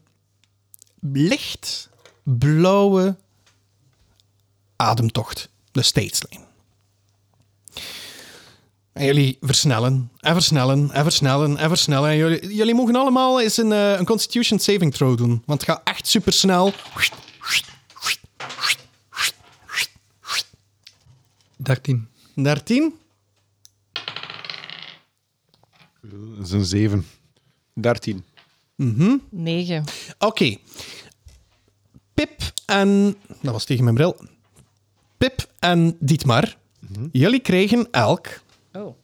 Speaker 3: licht blauwe ademtocht. De Stateslijn. En jullie versnellen en versnellen en versnellen en versnellen. En jullie, jullie mogen allemaal eens een, eh, een Constitution Saving Throw doen. Want het gaat echt supersnel.
Speaker 7: 13.
Speaker 3: 13.
Speaker 2: Dat is een zeven.
Speaker 4: 13.
Speaker 5: Negen.
Speaker 3: Oké. Pip en... Dat was tegen mijn bril. Pip en Dietmar, jullie kregen elk
Speaker 1: Oh.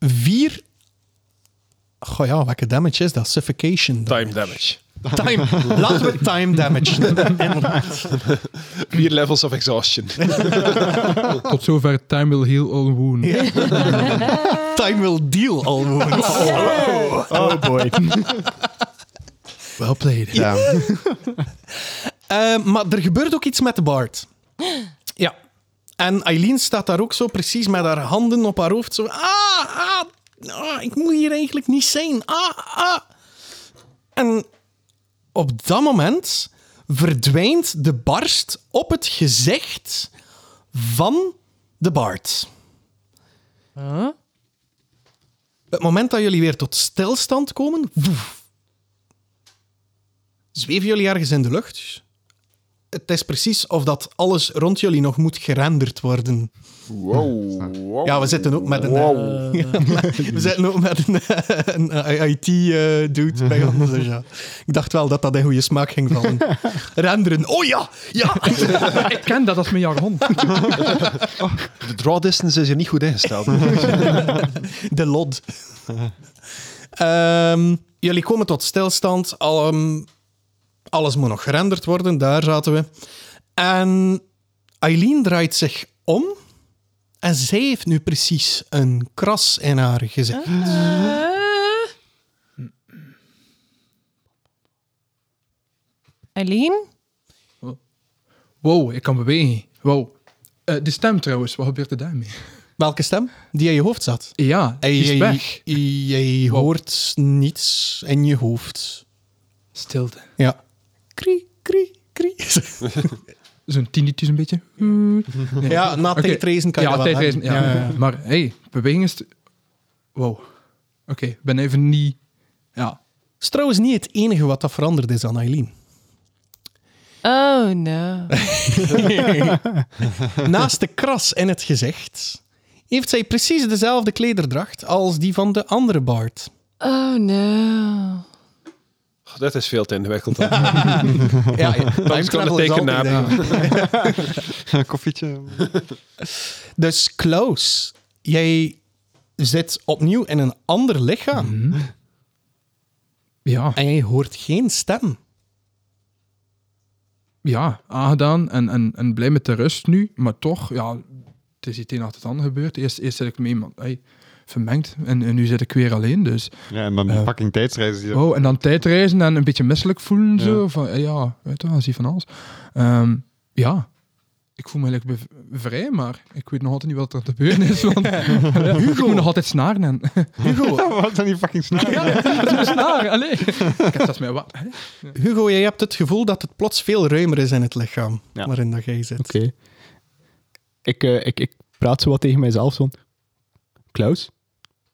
Speaker 3: vier... Goh ja, welke damage is dat? Suffocation. dan.
Speaker 4: Time damage.
Speaker 3: Time. Laten we time damage doen.
Speaker 4: Vier levels of exhaustion.
Speaker 7: Tot zover Time Will Heal All Wound.
Speaker 3: Time will deal al wounds.
Speaker 6: Oh boy.
Speaker 7: Well played.
Speaker 2: Ja.
Speaker 3: Eh, maar er gebeurt ook iets met de Bart. Ja. En Eileen staat daar ook zo precies met haar handen op haar hoofd. Zo, ah, ah, ah, ik moet hier eigenlijk niet zijn. Ah, ah. En op dat moment verdwijnt de barst op het gezicht van de Bart. Het moment dat jullie weer tot stilstand komen, woef, zweven jullie ergens in de lucht. Het is precies of dat alles rond jullie nog moet gerenderd worden.
Speaker 4: Wow. wow.
Speaker 3: Ja, we zitten ook met een, eh, we zitten ook met een, eh, een IT-dude bij ons. dus ja. Ik dacht wel dat dat in goede smaak ging vallen. Renderen. Oh ja, ja.
Speaker 7: Ik ken dat als mijn jargon.
Speaker 4: De draw distance is hier niet goed ingesteld.
Speaker 3: De lod. Ehm, jullie komen tot stilstand. Al, ehm, alles moet nog gerenderd worden. Daar zaten we. En Eileen draait zich om. En zij heeft nu precies een kras in haar gezicht.
Speaker 5: Eh? Eileen?
Speaker 7: Wow, ik kan bewegen. Wow. Eh die stem trouwens, wat gebeurt er daarmee?
Speaker 3: Welke stem? Die in je hoofd zat.
Speaker 7: Ja,
Speaker 3: En
Speaker 7: die is
Speaker 3: jij-
Speaker 7: weg.
Speaker 3: Jij
Speaker 7: Wow.
Speaker 3: hoort niets in je hoofd.
Speaker 7: Stilte.
Speaker 3: Ja. Krie, krie, krie.
Speaker 7: Zo'n tinnitus een beetje. Nee.
Speaker 3: Ja, na
Speaker 7: Oké.
Speaker 3: tijdreizen kan je
Speaker 7: ja,
Speaker 3: dat wel
Speaker 7: tijdreizen,
Speaker 3: hebben.
Speaker 7: ja. Maar hey, beweging is... Wow. Oké, ik ben even niet... Ja.
Speaker 3: is trouwens niet het enige wat dat veranderd is aan Eileen.
Speaker 5: Oh no.
Speaker 3: Naast de kras in het gezicht heeft zij precies dezelfde klederdracht als die van de andere Bart.
Speaker 5: Oh no.
Speaker 4: Oh, dit is veel te ingewikkeld. hè.
Speaker 3: Ja, ja.
Speaker 4: Anders kan het teken nadoen.
Speaker 2: Koffietje.
Speaker 3: Dus Klaus, jij zit opnieuw in een ander lichaam
Speaker 6: Mhm.
Speaker 7: Ja,
Speaker 3: en jij hoort geen stem.
Speaker 7: ja, aangedaan en, en, en blij met de rust nu. Maar toch, ja, het is het een achter het ander gebeurd. Eerst, eerst zit ik met iemand hey, vermengd en, en nu zit ik weer alleen. Dus,
Speaker 2: Ja, en dan die fucking tijdsreizen die
Speaker 7: oh, en dan tijdreizen en een beetje misselijk voelen. Zo,
Speaker 2: Ja.
Speaker 7: van, eh, ja, weet je wel, zie van alles. Ehm, ja, ik voel me eigenlijk bev- vrij, maar ik weet nog altijd niet wat er te gebeuren is. Want Hugo. ik moet nog altijd snaren en
Speaker 3: Hugo,
Speaker 2: Wat zijn die fucking snaren?
Speaker 7: snaar, allee. Ik heb zelfs mijn wat. hè?
Speaker 3: Hugo, jij hebt het gevoel dat het plots veel ruimer is in het lichaam
Speaker 2: Ja.
Speaker 3: waarin dat jij zit.
Speaker 6: Oké. Ik, eh, ik, ik praat zo wat tegen mijzelf. Zo. Klaus?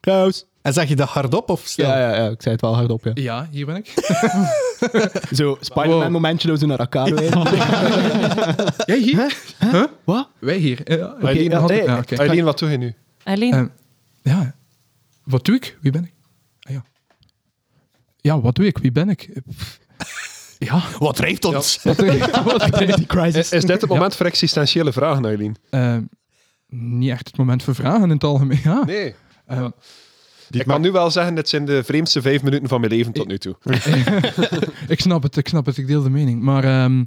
Speaker 6: Klaus?
Speaker 3: En zeg je dat hardop of stil?
Speaker 6: Ja, ja, ja, ik zei het wel hardop, ja.
Speaker 7: Ja, hier ben ik.
Speaker 6: Zo, Spider-Man
Speaker 7: Wow.
Speaker 6: momentje dat we zo naar elkaar rijden.
Speaker 7: Jij hier?
Speaker 6: Wat?
Speaker 7: Wij hier. Eh, ja,
Speaker 4: Aileen,
Speaker 6: ja,
Speaker 7: had-
Speaker 6: nee.
Speaker 7: ja, oké.
Speaker 4: Aileen, wat doe je nu?
Speaker 5: Alleen,
Speaker 7: Eh, ja, wat doe ik? Wie ben ik? Ah, ja. ja, wat doe ik? Wie ben ik? Eh, pff. Ja,
Speaker 3: Wat drijft ons?
Speaker 7: wat doe ik? Wat doe ik?
Speaker 6: Die crisis.
Speaker 4: Is, is dit het moment voor existentiële vragen, Aileen?
Speaker 7: Eh, niet echt het moment voor vragen in het algemeen. Ja.
Speaker 4: Nee.
Speaker 7: Eh,
Speaker 2: Die
Speaker 4: ik kan
Speaker 2: maakt-
Speaker 4: nu wel zeggen, dit zijn de vreemdste vijf minuten van mijn leven tot nu toe.
Speaker 7: ik snap het, ik snap het, ik deel de mening. Maar ehm,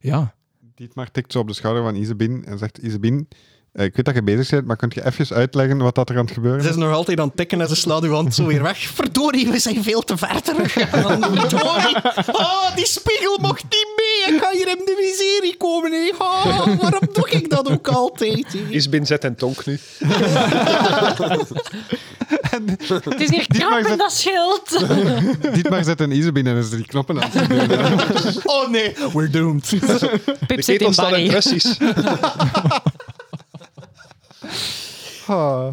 Speaker 7: ja,
Speaker 2: Dietmar tikt zo op de schouder van Isabin en zegt: Isabin, eh, ik weet dat je bezig bent, maar kunt je even uitleggen wat dat er aan het gebeuren
Speaker 3: Ze
Speaker 2: is?
Speaker 3: is nog altijd aan het tikken en ze slaat uw hand zo weer weg. Verdorie, we zijn veel te ver teruggegaan. Verdorie. Oh, die spiegel mocht niet mee. Ik ga hier in de miserie komen. hè. Oh, waarom doe ik dat ook altijd? hè?
Speaker 4: Isbin zet en tonk nu.
Speaker 5: het is hier krap
Speaker 2: maakt
Speaker 5: in
Speaker 2: het-
Speaker 5: dat schild.
Speaker 2: Dietmar zet een Isabin en is die knoppen aan het doen.
Speaker 3: Oh nee, we're doomed.
Speaker 5: Pip
Speaker 4: De
Speaker 5: zit
Speaker 4: ketel
Speaker 5: in
Speaker 4: staat in
Speaker 5: Barry.
Speaker 4: Russisch.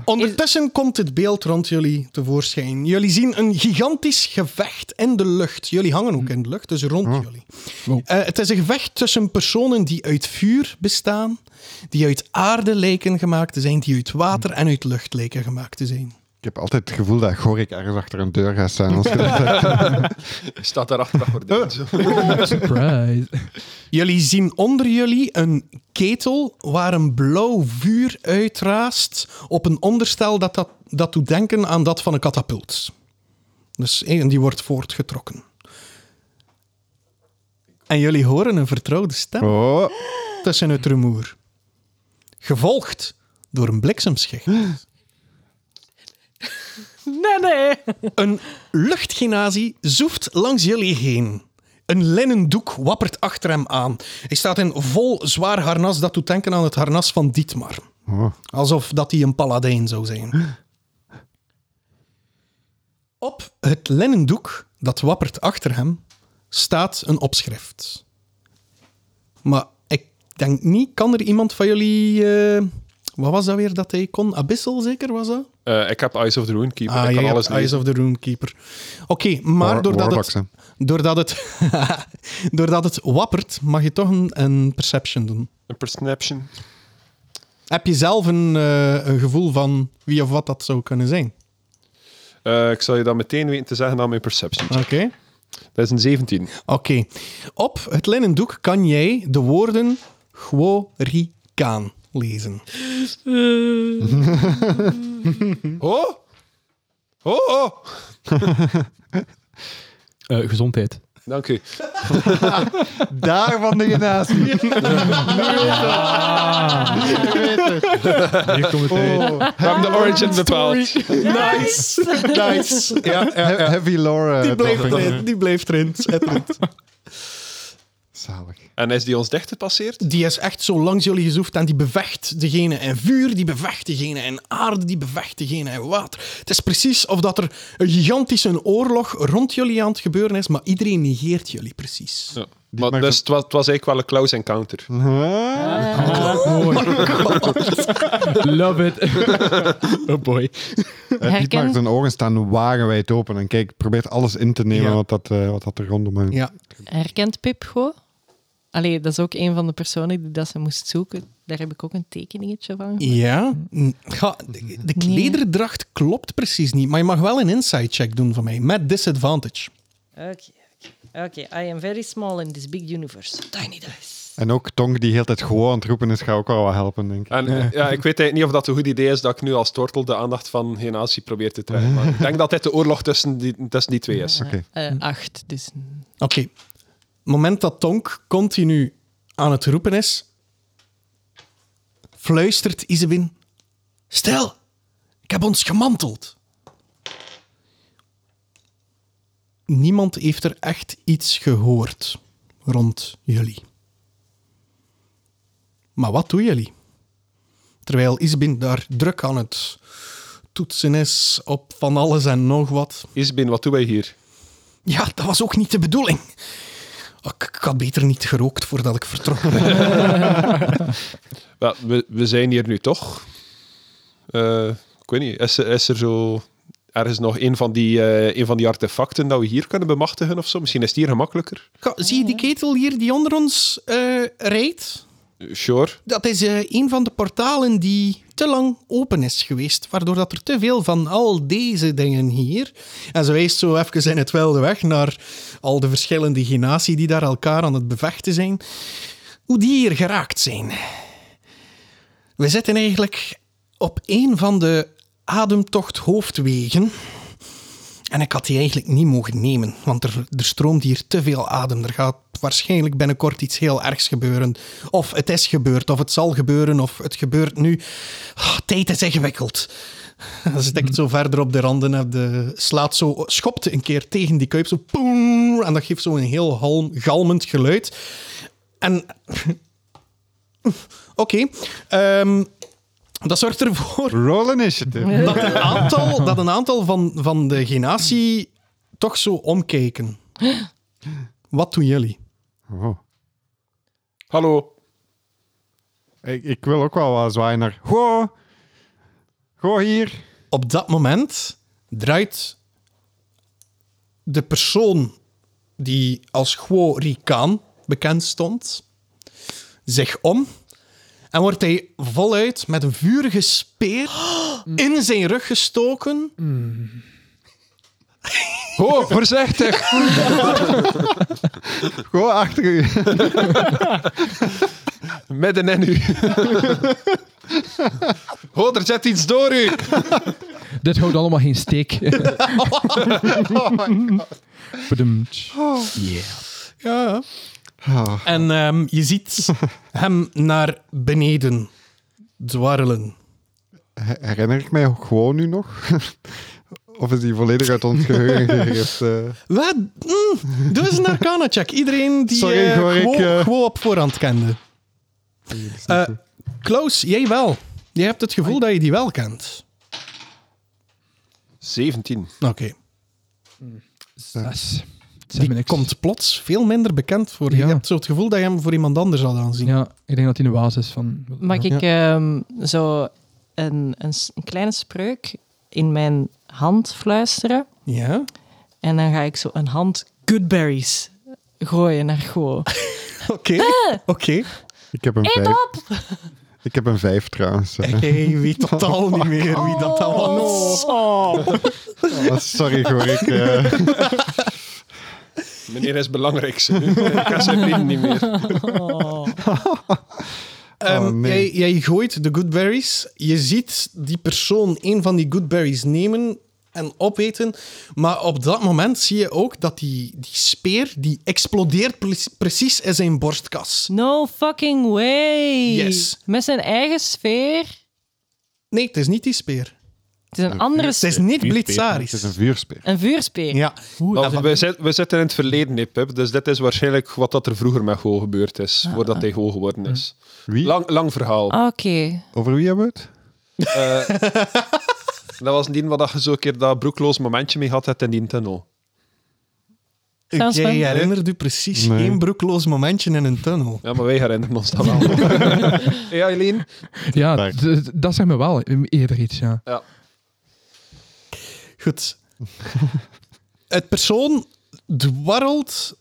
Speaker 3: Ondertussen komt het beeld rond jullie tevoorschijn. Jullie zien een gigantisch gevecht in de lucht. Jullie hangen ook in de lucht, dus rond jullie.
Speaker 7: Wow.
Speaker 3: Eh, het is een gevecht tussen personen die uit vuur bestaan, die uit aarde lijken gemaakt te zijn, die uit water en uit lucht lijken gemaakt te zijn.
Speaker 2: Ik heb altijd het gevoel dat Gorik ergens achter een deur gaat staan. Als je dat-
Speaker 4: Staat daar achter dat gordijn, zo.
Speaker 7: surprise.
Speaker 3: Jullie zien onder jullie een ketel waar een blauw vuur uitraast op een onderstel dat, dat, dat doet denken aan dat van een katapult. Dus eh, en die wordt voortgetrokken. En jullie horen een vertrouwde stem
Speaker 2: Oh,
Speaker 3: tussen het rumoer. Gevolgd door een bliksemschicht.
Speaker 5: Nee, nee.
Speaker 3: Een luchtgenazie zoeft langs jullie heen. Een linnen doek wappert achter hem aan. Hij staat in vol zwaar harnas dat doet denken aan het harnas van Dietmar.
Speaker 2: Oh.
Speaker 3: Alsof dat hij een paladijn zou zijn. Op het linnen doek dat wappert achter hem staat een opschrift. Maar ik denk niet, kan er iemand van jullie... eh, wat was dat weer dat hij kon? Abyssal zeker was dat?
Speaker 4: Eh, ik heb Eyes of the Runekeeper.
Speaker 3: Ah,
Speaker 4: ik
Speaker 3: jij
Speaker 4: kan
Speaker 3: hebt
Speaker 4: alles
Speaker 3: Eyes
Speaker 4: lezen.
Speaker 3: of the Runekeeper. Oké, maar
Speaker 2: War-
Speaker 3: doordat
Speaker 2: Warlocks,
Speaker 3: het, doordat, het, doordat het wappert, mag je toch een, een perception doen.
Speaker 4: Een perception.
Speaker 3: Heb je zelf een, eh, een gevoel van wie of wat dat zou kunnen zijn?
Speaker 4: Eh, ik zal je dat meteen weten te zeggen aan mijn perception.
Speaker 3: Oké.
Speaker 4: Dat is een 17.
Speaker 3: Oké. Op het linnen doek kan jij de woorden Gworikaan lezen.
Speaker 4: Oh! Oh, oh!
Speaker 6: Eh, gezondheid.
Speaker 4: Dank u.
Speaker 2: daar van de genatie.
Speaker 6: Hier komt het uit.
Speaker 2: Oh,
Speaker 4: We hebben de origin bepaald.
Speaker 3: Nice! nice! Ja,
Speaker 2: he- heavy lore. eh,
Speaker 3: die bleef
Speaker 2: topping.
Speaker 3: erin. Die bleef erin. Schitterend.
Speaker 2: Zalig.
Speaker 4: En is die ons dicht gepasseerd?
Speaker 3: Die is echt zo langs jullie gezoefd en die bevecht degene in vuur, die bevecht degene in aarde, die bevecht degene in water. Het is precies of dat er een gigantische oorlog rond jullie aan het gebeuren is, maar iedereen negeert jullie precies.
Speaker 4: Ja. Maar,
Speaker 2: maakt
Speaker 4: dus het was, het was eigenlijk wel een close encounter.
Speaker 2: Eh,
Speaker 3: Oh
Speaker 6: Love it. oh boy.
Speaker 2: Eh, Dietmar
Speaker 5: Herken-
Speaker 2: zijn ogen staan wagenwijd open en kijk, probeert alles in te nemen
Speaker 3: Ja.
Speaker 2: wat, dat, eh, wat dat er rondom hangt.
Speaker 3: Ja.
Speaker 5: Herkent Pip gewoon? Allee, dat is ook een van de personen die dat ze moest zoeken. Daar heb ik ook een tekeningetje van.
Speaker 3: Ja? N- ga- de- de klederdracht klopt precies niet, maar je mag wel een insight check doen van mij, met disadvantage.
Speaker 5: Oké, oké. Oké, I am very small in this big universe. Tiny dice.
Speaker 2: En ook Tong die heel tijd gewoon aan het roepen is, gaat ook wel wat helpen, denk ik.
Speaker 4: En eh, ja, ik weet eigenlijk niet of dat een goed idee is dat ik nu als tortel de aandacht van Genazi probeer te trekken. Maar ik denk dat dit de oorlog tussen die, tussen die twee is.
Speaker 5: Eh, acht, dus...
Speaker 3: Oké. Moment dat Tonk continu aan het roepen is, fluistert Izebin: Stel, ik heb ons gemanteld. Niemand heeft er echt iets gehoord rond jullie. Maar wat doen jullie? Terwijl Izebin daar druk aan het toetsen is op van alles en nog wat.
Speaker 4: Isbin, wat doen wij hier?
Speaker 3: Ja, dat was ook niet de bedoeling. Oh, Ik, ik had beter niet gerookt voordat ik vertrok.
Speaker 4: Wel, we, we zijn hier nu toch. Eh, ik weet niet, is, er- is er zo ergens nog een van, die, eh, een van die artefacten dat we hier kunnen bemachtigen of zo? Misschien is het hier gemakkelijker.
Speaker 3: Ka- Zie je die ketel hier die onder ons eh, rijdt?
Speaker 4: Sure.
Speaker 3: Dat is eh, een van de portalen die te lang open is geweest, waardoor dat er te veel van al deze dingen hier... En ze wijst zo even in het wilde weg naar al de verschillende genatie die daar elkaar aan het bevechten zijn. Hoe die hier geraakt zijn. We zitten eigenlijk op een van de ademtocht hoofdwegen... En ik had die eigenlijk niet mogen nemen, want er, er stroomt hier te veel adem. Er gaat waarschijnlijk binnenkort iets heel ergs gebeuren. Of het is gebeurd, of het zal gebeuren, of het gebeurt nu. Ah, tijd is ingewikkeld. Dan zit ik het zo verder op de randen en de slaat zo, schopt een keer tegen die kuip, zo poem, en dat geeft zo een heel halm, galmend geluid. En... Oké. ehm, dat zorgt ervoor
Speaker 2: Roll initiative.
Speaker 3: dat een aantal, dat een aantal van, van de genatie toch zo omkijken. Wat doen jullie?
Speaker 2: Oh.
Speaker 4: Hallo.
Speaker 2: Ik, ik wil ook wel wat zwaaien naar... Goh! Goh hier!
Speaker 3: Op dat moment draait de persoon die als Guo Rikaan bekend stond zich om en wordt hij voluit met een vurige speer in zijn rug gestoken
Speaker 4: Oh, voorzichtig.
Speaker 2: Goh achter u!
Speaker 4: Midden in u. Oh, er zit iets door u.
Speaker 7: Dit houdt allemaal geen steek.
Speaker 6: Eh,
Speaker 7: Bedoemd.
Speaker 3: Ja.
Speaker 2: Oh.
Speaker 3: En ehm, je ziet hem naar beneden dwarrelen.
Speaker 2: Her- Herinner ik mij gewoon nu nog? of is die volledig uit ons geheugen gegrift? eh?
Speaker 3: Wat? Mm, doe eens een arcana-check. Iedereen die
Speaker 2: Sorry,
Speaker 3: eh,
Speaker 2: hoor, ik,
Speaker 3: gewoon,
Speaker 2: eh,
Speaker 3: gewoon op voorhand kende. Eh Klaus, jij wel. Jij hebt het gevoel dat je die wel kent.
Speaker 4: 17.
Speaker 3: Oké.
Speaker 7: Zes. Zeg me
Speaker 3: Die
Speaker 7: niks.
Speaker 3: komt plots veel minder bekend voor. Je
Speaker 7: Ja.
Speaker 3: hebt zo het gevoel dat je hem voor iemand anders had aanzien.
Speaker 7: Ja, ik denk dat hij een waas is van...
Speaker 5: Mag ik ehm, zo een, een, s- een kleine spreuk in mijn hand fluisteren?
Speaker 3: Ja?
Speaker 5: En dan ga ik zo een hand goodberries gooien naar Go.
Speaker 3: Oké.
Speaker 7: Eh.
Speaker 3: Oké.
Speaker 2: ik heb een vijf. Ik heb een vijf trouwens. eh.
Speaker 3: Hey, wie totaal niet meer wie dat dan was.
Speaker 2: Oh, sorry hoor, ik... eh,
Speaker 4: Meneer is belangrijk. Ik kan zijn vrienden niet meer.
Speaker 3: Ehm,
Speaker 2: Oh, nee.
Speaker 3: jij, jij gooit de goodberries. Je ziet die persoon een van die goodberries nemen en opeten. Maar op dat moment zie je ook dat die, die speer die explodeert pre- precies in zijn borstkas.
Speaker 5: No fucking way!
Speaker 3: Yes.
Speaker 5: Met zijn eigen sfeer.
Speaker 3: Nee, het is niet die speer.
Speaker 5: Het is een andere
Speaker 3: Het is
Speaker 5: sfeer.
Speaker 3: niet
Speaker 2: het is
Speaker 3: Blitzaris.
Speaker 2: een vuurspeer.
Speaker 5: Een vuurspeer.
Speaker 3: Ja.
Speaker 4: Want we, zit- we zitten in het verleden, hè, Pip. Dus dit is waarschijnlijk wat dat er vroeger met Go gebeurd is. Voordat hij Go geworden is.
Speaker 2: Wie?
Speaker 4: Lang, lang verhaal.
Speaker 5: Oké.
Speaker 2: Over wie hebben we het?
Speaker 4: Eh, dat was die waar dat je zo'n keer dat broekloos momentje mee had hebt in die tunnel.
Speaker 5: Sounds
Speaker 3: Jij
Speaker 5: fun.
Speaker 3: herinnert u precies
Speaker 2: Nee.
Speaker 3: geen broekloos momentje in een tunnel.
Speaker 4: Ja, maar wij herinneren ons dat wel. ja, Eileen?
Speaker 7: Ja,
Speaker 2: Dank.
Speaker 7: d- d- dat zegt me wel eerder iets, ja.
Speaker 4: Ja.
Speaker 3: Goed. Het persoon dwarrelt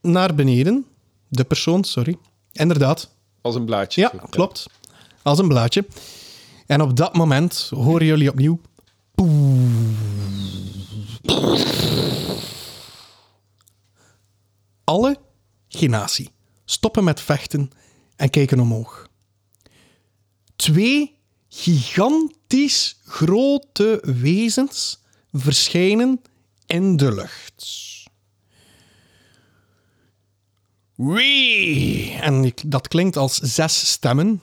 Speaker 3: naar beneden. De persoon, sorry. Inderdaad.
Speaker 4: Als een blaadje.
Speaker 3: Ja,
Speaker 4: Zo.
Speaker 3: klopt. Als een blaadje. En op dat moment horen jullie opnieuw. Genatie. Stoppen met vechten en kijken omhoog. Twee gigantisch grote wezens verschijnen in de lucht. Wie? En ik- dat klinkt als zes stemmen.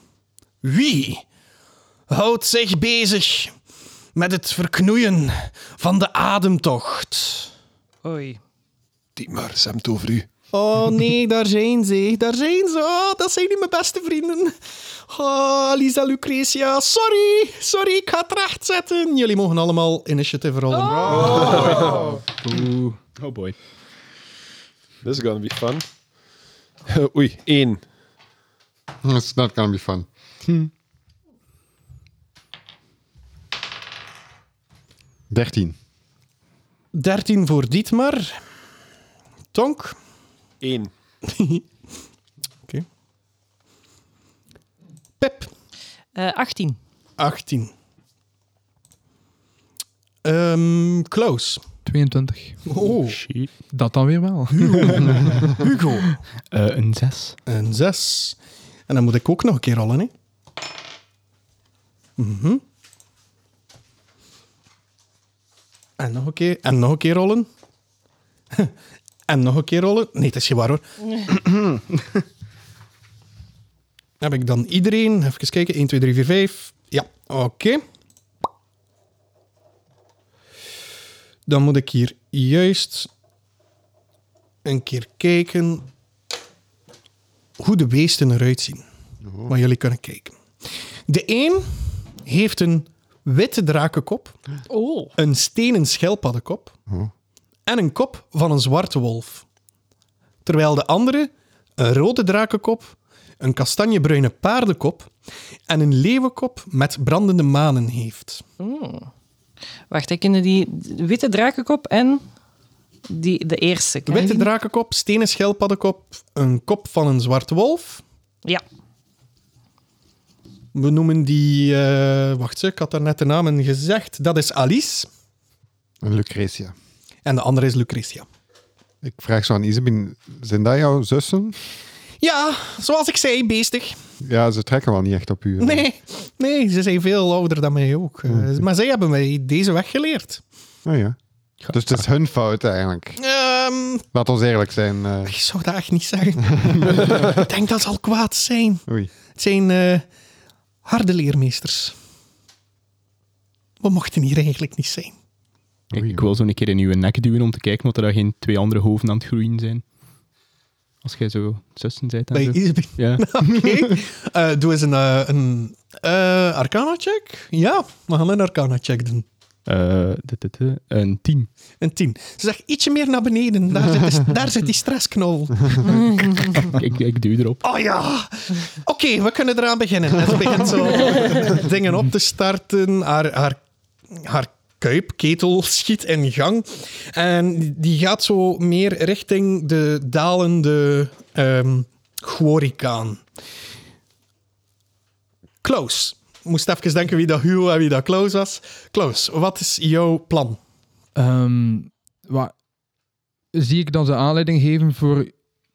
Speaker 3: Wie houdt zich bezig met het verknoeien van de ademtocht?
Speaker 5: Oei.
Speaker 4: Die maar, ze hebben het over u.
Speaker 3: Oh nee, daar zijn ze. Daar zijn ze. Oh, dat zijn niet mijn beste vrienden. Oh, Lisa Lucretia, sorry. Sorry, ik ga het rechtzetten. Jullie mogen allemaal initiative rollen.
Speaker 6: Oeh. Oh boy.
Speaker 4: This is gonna be fun. Oei, één.
Speaker 2: It's not gonna be fun.
Speaker 3: Hm.
Speaker 2: Dertien.
Speaker 3: 13 voor Dietmar. Tonk.
Speaker 4: Eén.
Speaker 3: Pip.
Speaker 5: Eh, 18.
Speaker 3: 18. Ehm Klaus.
Speaker 7: 22.
Speaker 3: Oh,
Speaker 7: Dat dan weer wel.
Speaker 3: Hugo.
Speaker 6: Eh, een zes.
Speaker 3: Een 6. En dan moet ik ook nog een keer rollen, hè? Mhm. En nog een keer, en nog een keer rollen. en nog een keer rollen. Nee, dat is geen waar hoor. Heb ik dan iedereen? Even kijken. 1, 2, 3, 4, 5. Ja, oké. Dan moet ik hier juist een keer kijken hoe de beesten eruit zien. Waar jullie kunnen kijken. De een heeft een witte drakenkop,
Speaker 5: Oh.
Speaker 3: een stenen schelpaddenkop en een kop van een zwarte wolf. Terwijl de andere een rode drakenkop, een kastanjebruine paardenkop en een leeuwenkop met brandende manen heeft.
Speaker 5: Wacht, ik kende die witte drakenkop en die, de eerste.
Speaker 3: De
Speaker 5: Ken je
Speaker 3: witte
Speaker 5: die?
Speaker 3: drakenkop, stenen schelpaddenkop, een kop van een zwarte wolf.
Speaker 5: Ja.
Speaker 3: We noemen die... eh, wacht, ik had daar net de namen gezegd. Dat is Alice
Speaker 2: En Lucretia.
Speaker 3: en de andere is Lucretia.
Speaker 2: Ik vraag zo aan Isabin, zijn dat jouw zussen?
Speaker 3: Ja, zoals ik zei, beestig.
Speaker 2: Ja, ze trekken wel niet echt op u. hè?
Speaker 3: Nee, nee ze zijn veel ouder dan mij ook. Eh, Maar zij hebben mij deze weg geleerd.
Speaker 2: Oh ja. Dus het is hun fout eigenlijk.
Speaker 3: Ehm,
Speaker 2: Laat ons eerlijk zijn. eh,
Speaker 3: ik zou dat echt niet zeggen. ik denk dat ze al kwaad zijn.
Speaker 2: oei.
Speaker 3: Het zijn eh, harde leermeesters. We mochten hier eigenlijk niet zijn.
Speaker 6: Ik, ik wil zo een keer in uw nek duwen om te kijken of er daar geen twee andere hoofden aan het groeien zijn. Als jij zo zussen bent. en
Speaker 3: Bij
Speaker 6: zo.
Speaker 3: Isabel.
Speaker 6: Ja. dus-
Speaker 3: Oké. Eh, doe eens een, eh, een eh, arcana-check. Ja, we gaan een arcana-check doen.
Speaker 6: Eh, dit, dit, dit. een tien.
Speaker 3: Een tien. Ze zegt ietsje meer naar beneden. Daar zit, de- daar zit die stressknol.
Speaker 6: ik, ik duw erop.
Speaker 3: Oh ja! Oké, we kunnen eraan beginnen. En ze begint zo dingen op te starten. Haar, haar, haar kuipketel schiet in gang. En die gaat zo meer richting de dalende ehm Glorikaan. Klaus. Moest even denken wie dat Hugo en wie dat Klaus was. Klaus, wat is jouw plan?
Speaker 7: Ehm, wa- zie ik dan ze aanleiding geven voor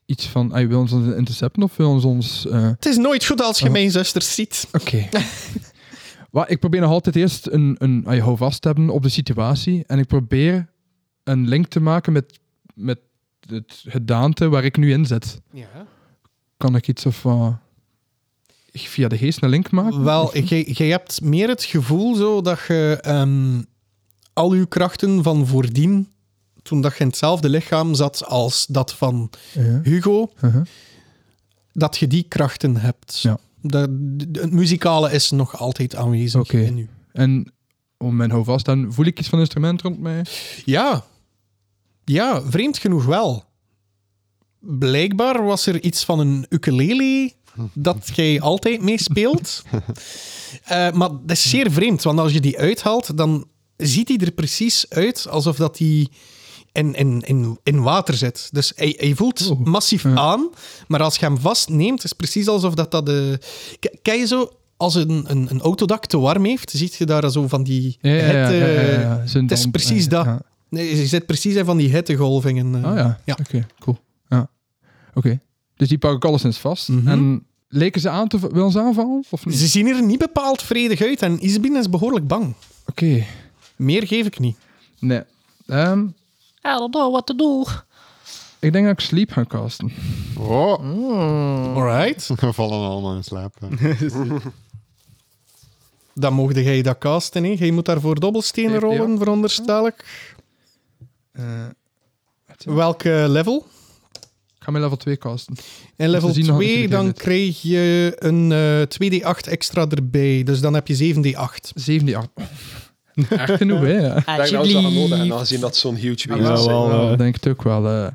Speaker 7: iets van... Ay, wil ons ons intercepten of wil ons ons... eh,
Speaker 3: Het is nooit goed als je mijn zusters ziet.
Speaker 7: Oké. Wa- ik probeer nog altijd eerst een, een ah, je hou vast te hebben op de situatie. En ik probeer een link te maken met, met het gedaante waar ik nu in zit.
Speaker 3: Ja.
Speaker 7: Kan ik iets of wat- ik via de geest een link maken?
Speaker 3: Wel, jij jij hebt meer het gevoel zo dat je ehm, al je krachten van voordien, toen dat je in hetzelfde lichaam zat als dat van
Speaker 7: Ja.
Speaker 3: Hugo,
Speaker 7: Uh-huh.
Speaker 3: dat je die krachten hebt.
Speaker 7: Ja.
Speaker 3: Dat, d- het muzikale is nog altijd aanwezig
Speaker 7: Oké.
Speaker 3: in u.
Speaker 7: En om mijn hou vast, dan voel ik iets van instrument rond mij.
Speaker 3: Ja. ja, vreemd genoeg wel. Blijkbaar was er iets van een ukulele dat jij altijd meespeelt. Eh, maar dat is zeer vreemd, want als je die uithaalt, dan ziet hij er precies uit alsof dat hij in, in, in, in water zit. Dus hij, hij voelt
Speaker 7: Oeh.
Speaker 3: massief
Speaker 7: Ja.
Speaker 3: aan, maar als je hem vastneemt, is het precies alsof dat... dat de... K- Ken je zo, als een, een, een autodak te warm heeft, ziet je daar zo van die... hitte-
Speaker 7: Zo'n
Speaker 3: eh, het is
Speaker 7: damp,
Speaker 3: precies
Speaker 7: eh,
Speaker 3: dat.
Speaker 7: ja. Oh,
Speaker 3: Nee, je zit precies in van die hittegolvingen. eh.
Speaker 7: Ah ja,
Speaker 3: Ja.
Speaker 7: oké, cool. Ja. Oké, Dus die pak ik alleszins vast.
Speaker 3: Mhm.
Speaker 7: En leken ze aan te willen ze aanvallen of niet?
Speaker 3: Ze zien er niet bepaald vredig uit en Isabine is behoorlijk bang.
Speaker 7: Oké,
Speaker 3: Meer geef ik niet.
Speaker 7: nee. Ehm,
Speaker 5: I don't know what to do.
Speaker 7: ik denk dat ik sleep ga casten.
Speaker 2: Oh,
Speaker 3: Hm?
Speaker 7: Hm.
Speaker 3: Alright.
Speaker 2: we vallen allemaal in slaap. eh.
Speaker 3: Dan mocht jij dat casten. Hè. Jij moet daarvoor dobbelstenen
Speaker 7: Heeft hij
Speaker 3: rollen,
Speaker 7: ook?
Speaker 3: veronderstel ik.
Speaker 7: Eh, wat, eh,
Speaker 3: Welke level?
Speaker 7: ik ga mijn level 2 casten.
Speaker 3: En level
Speaker 7: zien nog dat
Speaker 3: 2,
Speaker 7: ik
Speaker 3: dan
Speaker 7: erin zit.
Speaker 3: krijg je een eh 2d8 extra erbij. Dus dan heb je 7d8.
Speaker 7: 7 die 8. Echt genoeg, hè? Ja,
Speaker 4: Ik denk dat ze dat gaan nodig hebben,
Speaker 5: Alsjeblieft.
Speaker 4: aangezien dat zo'n huge
Speaker 6: Ja,
Speaker 4: beest is.
Speaker 6: wel,
Speaker 4: Ik
Speaker 6: eh.
Speaker 7: ik denk het ook wel. eh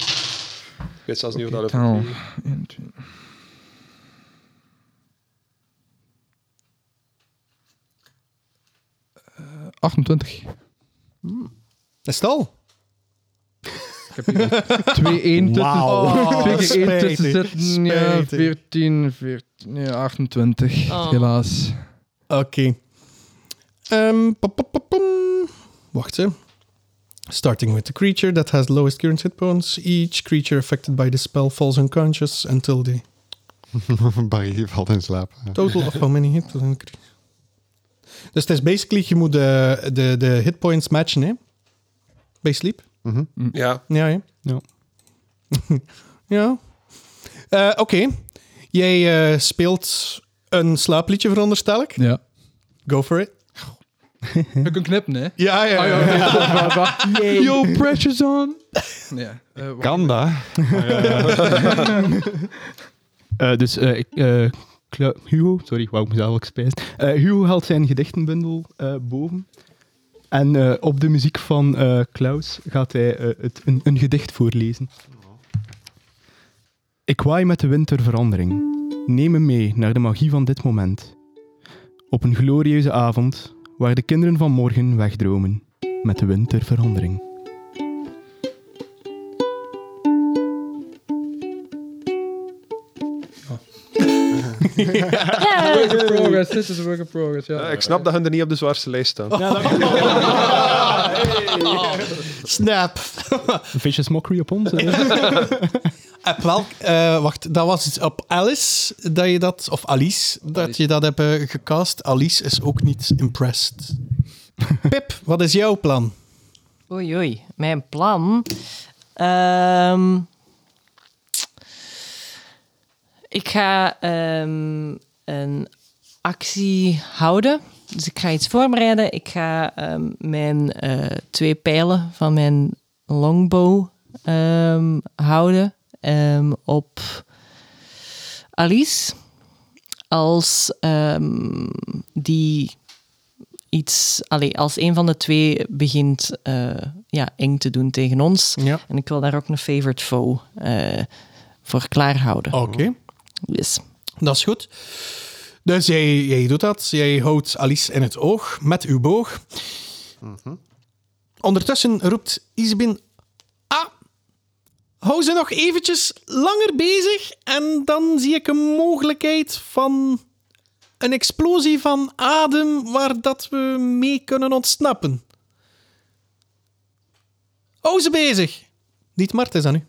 Speaker 4: weet zelfs niet hoe
Speaker 7: Oké,
Speaker 4: dat
Speaker 7: taal.
Speaker 4: lukt.
Speaker 7: 21. Eh, 28.
Speaker 3: Is het al?
Speaker 7: Ik heb hier 2 1 tussen.
Speaker 3: Wauw.
Speaker 7: Twee keer één tussen
Speaker 3: Spijtig,
Speaker 7: zitten. Ja,
Speaker 3: spijtig.
Speaker 7: 14, 14, ja, 28.
Speaker 5: Oh.
Speaker 7: Helaas.
Speaker 3: Oké. Ehm, pa- pa- pa- pam. Wacht, hè. Starting with the creature that has lowest current hit points. Each creature affected by the spell falls unconscious until the
Speaker 2: Barry valt in slaap.
Speaker 3: total of how many hit points. Dus het is basically, je moet de, de, de hit points matchen, hè? Bij sleep.
Speaker 4: Ja,
Speaker 3: Ja, hè?
Speaker 6: Ja.
Speaker 3: ja. Eh, Oké. Jij eh, speelt een slaapliedje, veronderstel ik.
Speaker 7: Ja.
Speaker 3: Go for it.
Speaker 7: Heb ik een knip, nee?
Speaker 3: Ja, ja.
Speaker 7: Ah,
Speaker 3: ja.
Speaker 7: ja, oké, wacht, wacht, wacht. Yo, pressure's on. Nee. eh, wacht.
Speaker 2: Kan dat?
Speaker 6: Eh, dus eh, ik, eh, Cla- Hugo, sorry, wou ik mezelf ook spijzen. Eh, Hugo haalt zijn gedichtenbundel eh, boven. En eh, op de muziek van eh, Klaus gaat hij eh, het, een, een gedicht voorlezen. Ik waai met de wind ter verandering. Neem me mee naar de magie van dit moment. Op een glorieuze avond waar de kinderen van morgen wegdromen. Met de wind ter verandering.
Speaker 7: Work in progress. Dit is work in progress, ja.
Speaker 4: Eh, ik snap dat hun er niet op de zwaarste lijst staan.
Speaker 3: Snap.
Speaker 6: Vicious mockery op ons. eh.
Speaker 3: Op welk, eh, wacht, dat was het op Alice dat je dat, of Alice, dat je dat hebt eh, gecast. Alice is ook niet impressed. Pip, wat is jouw plan?
Speaker 5: Oei, oei. Mijn plan. Ehm, ik ga ehm, een actie houden. Dus ik ga iets voorbereiden. Ik ga ehm, mijn eh, twee pijlen van mijn longbow ehm, houden ehm, op Alice. Als ehm, die iets, allee, als een van de twee begint eh, ja, eng te doen tegen ons.
Speaker 3: Ja.
Speaker 5: En ik wil daar ook een favorite foe eh, voor klaarhouden.
Speaker 3: Oké,
Speaker 5: Yes.
Speaker 3: dat is goed. Dus jij, jij doet dat. Jij houdt Alice in het oog met uw boog. Ondertussen roept Isabin, ah, hou ze nog eventjes langer bezig en dan zie ik een mogelijkheid van een explosie van adem waar dat we mee kunnen ontsnappen. Hou ze bezig. Niet Mart is aan u.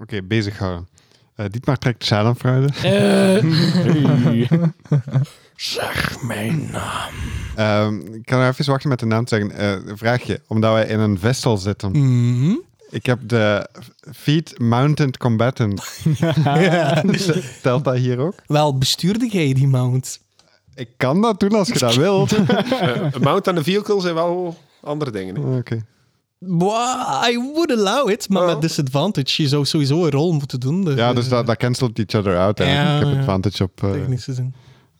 Speaker 2: Oké, bezig houden. Eh, Dietmar trekt schadenfruide.
Speaker 3: Eh. Zeg mijn naam.
Speaker 2: Ehm, ik kan nog even wachten met de naam te zeggen. Eh, vraagje, omdat wij in een vestel zitten.
Speaker 3: Mhm.
Speaker 2: Ik heb de Feet Mounted Combatant. Telt dat hier ook?
Speaker 3: Wel, bestuurde jij die mount?
Speaker 2: Ik kan dat doen als je dat wilt. Oké.
Speaker 4: Eh, mount en een vehicle zijn wel andere dingen. hè.
Speaker 3: Wow, I would allow it, maar
Speaker 4: Oh.
Speaker 3: met disadvantage. Je zou sowieso een rol moeten doen. Dus,
Speaker 2: Ja, dus
Speaker 3: eh,
Speaker 2: dat, dat cancelt each other out. eigenlijk.
Speaker 3: Ja,
Speaker 2: ik heb
Speaker 3: ja.
Speaker 2: advantage op... eh,
Speaker 3: Technische zin.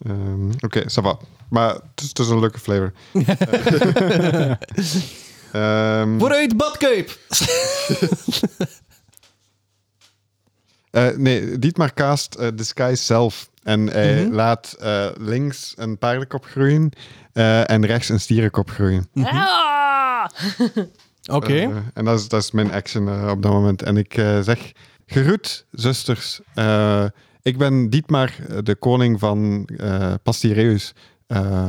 Speaker 2: ehm, Oké, ça va. Maar het is, het is een leuke flavor. Eh, ehm,
Speaker 3: Vooruit, badkuip!
Speaker 2: Eh, nee, Dietmar cast eh, Disguise zelf. En hij
Speaker 3: Mhm.
Speaker 2: laat eh, links een paardenkop groeien eh, en rechts een stierenkop groeien.
Speaker 5: Ah!
Speaker 3: Oké.
Speaker 2: Eh, en dat is, dat is mijn action eh, op dat moment. En ik eh, zeg, gegroet zusters. Eh, ik ben Dietmar, eh, de koning van eh Pastireus. Eh,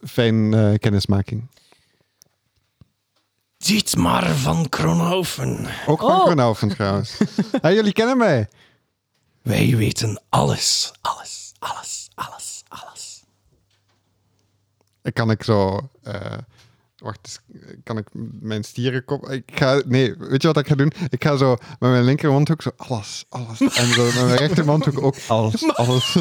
Speaker 2: fijn eh, kennismaking.
Speaker 3: Ziet maar van Kronhoven.
Speaker 2: Ook van
Speaker 1: Oh.
Speaker 2: Kronhoven trouwens. Ja, jullie kennen mij.
Speaker 3: Wij weten alles. Alles, alles, alles, alles.
Speaker 2: Kan ik zo... eh, wacht, eens, kan ik mijn stierenkop... Ik ga, nee, weet je wat ik ga doen? Ik ga zo met mijn linkermondhoek zo alles, alles. En zo met mijn rechtermondhoek ook alles, alles.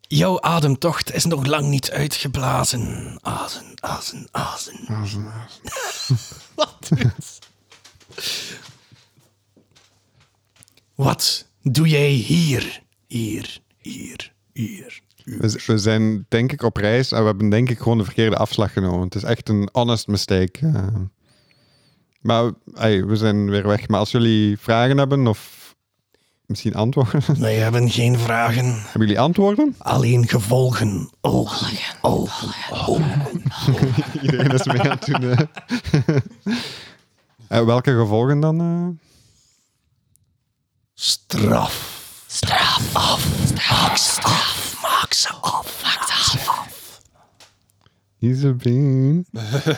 Speaker 3: Jouw ademtocht is nog lang niet uitgeblazen. Azen, azen, azen. Wat? is- Wat doe jij hier? Hier, hier, hier.
Speaker 2: Dus we zijn denk ik op reis en we hebben denk ik gewoon de verkeerde afslag genomen. Het is echt een honest mistake. eh. maar ey, we zijn weer weg. Maar als jullie vragen hebben of misschien antwoorden,
Speaker 3: Wij hebben geen vragen,
Speaker 2: hebben jullie antwoorden?
Speaker 3: alleen gevolgen. Ogen, ogen, ogen.
Speaker 2: Iedereen is mee aan het doen. eh. Eh, welke gevolgen dan? eh?
Speaker 3: Straf. Straf. Af. Straf. Straf. Maak ze af. Maak ze af.
Speaker 2: Isabeen.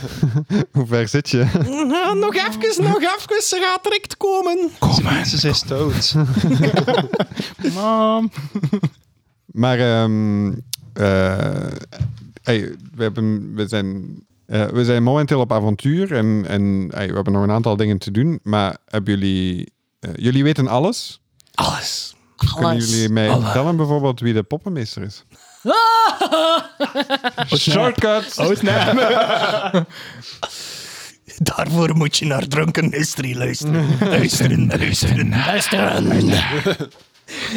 Speaker 2: Hoe ver zit je?
Speaker 3: Ah, nog even, nog even. Ze gaat direct komen.
Speaker 4: Oh, Ze zijn stout.
Speaker 6: Mam.
Speaker 2: Maar ehm, eh, ey, we, hebben, we, zijn, eh, we zijn momenteel op avontuur en, en ey, we hebben nog een aantal dingen te doen. Maar hebben jullie, eh, jullie weten alles?
Speaker 3: Alles.
Speaker 2: Kunnen jullie mij
Speaker 3: Alles.
Speaker 2: vertellen bijvoorbeeld wie de poppenmeester is? Shortcut!
Speaker 3: Daarvoor moet je naar Drunken History luisteren. luisteren, luisteren, luisteren. Nee,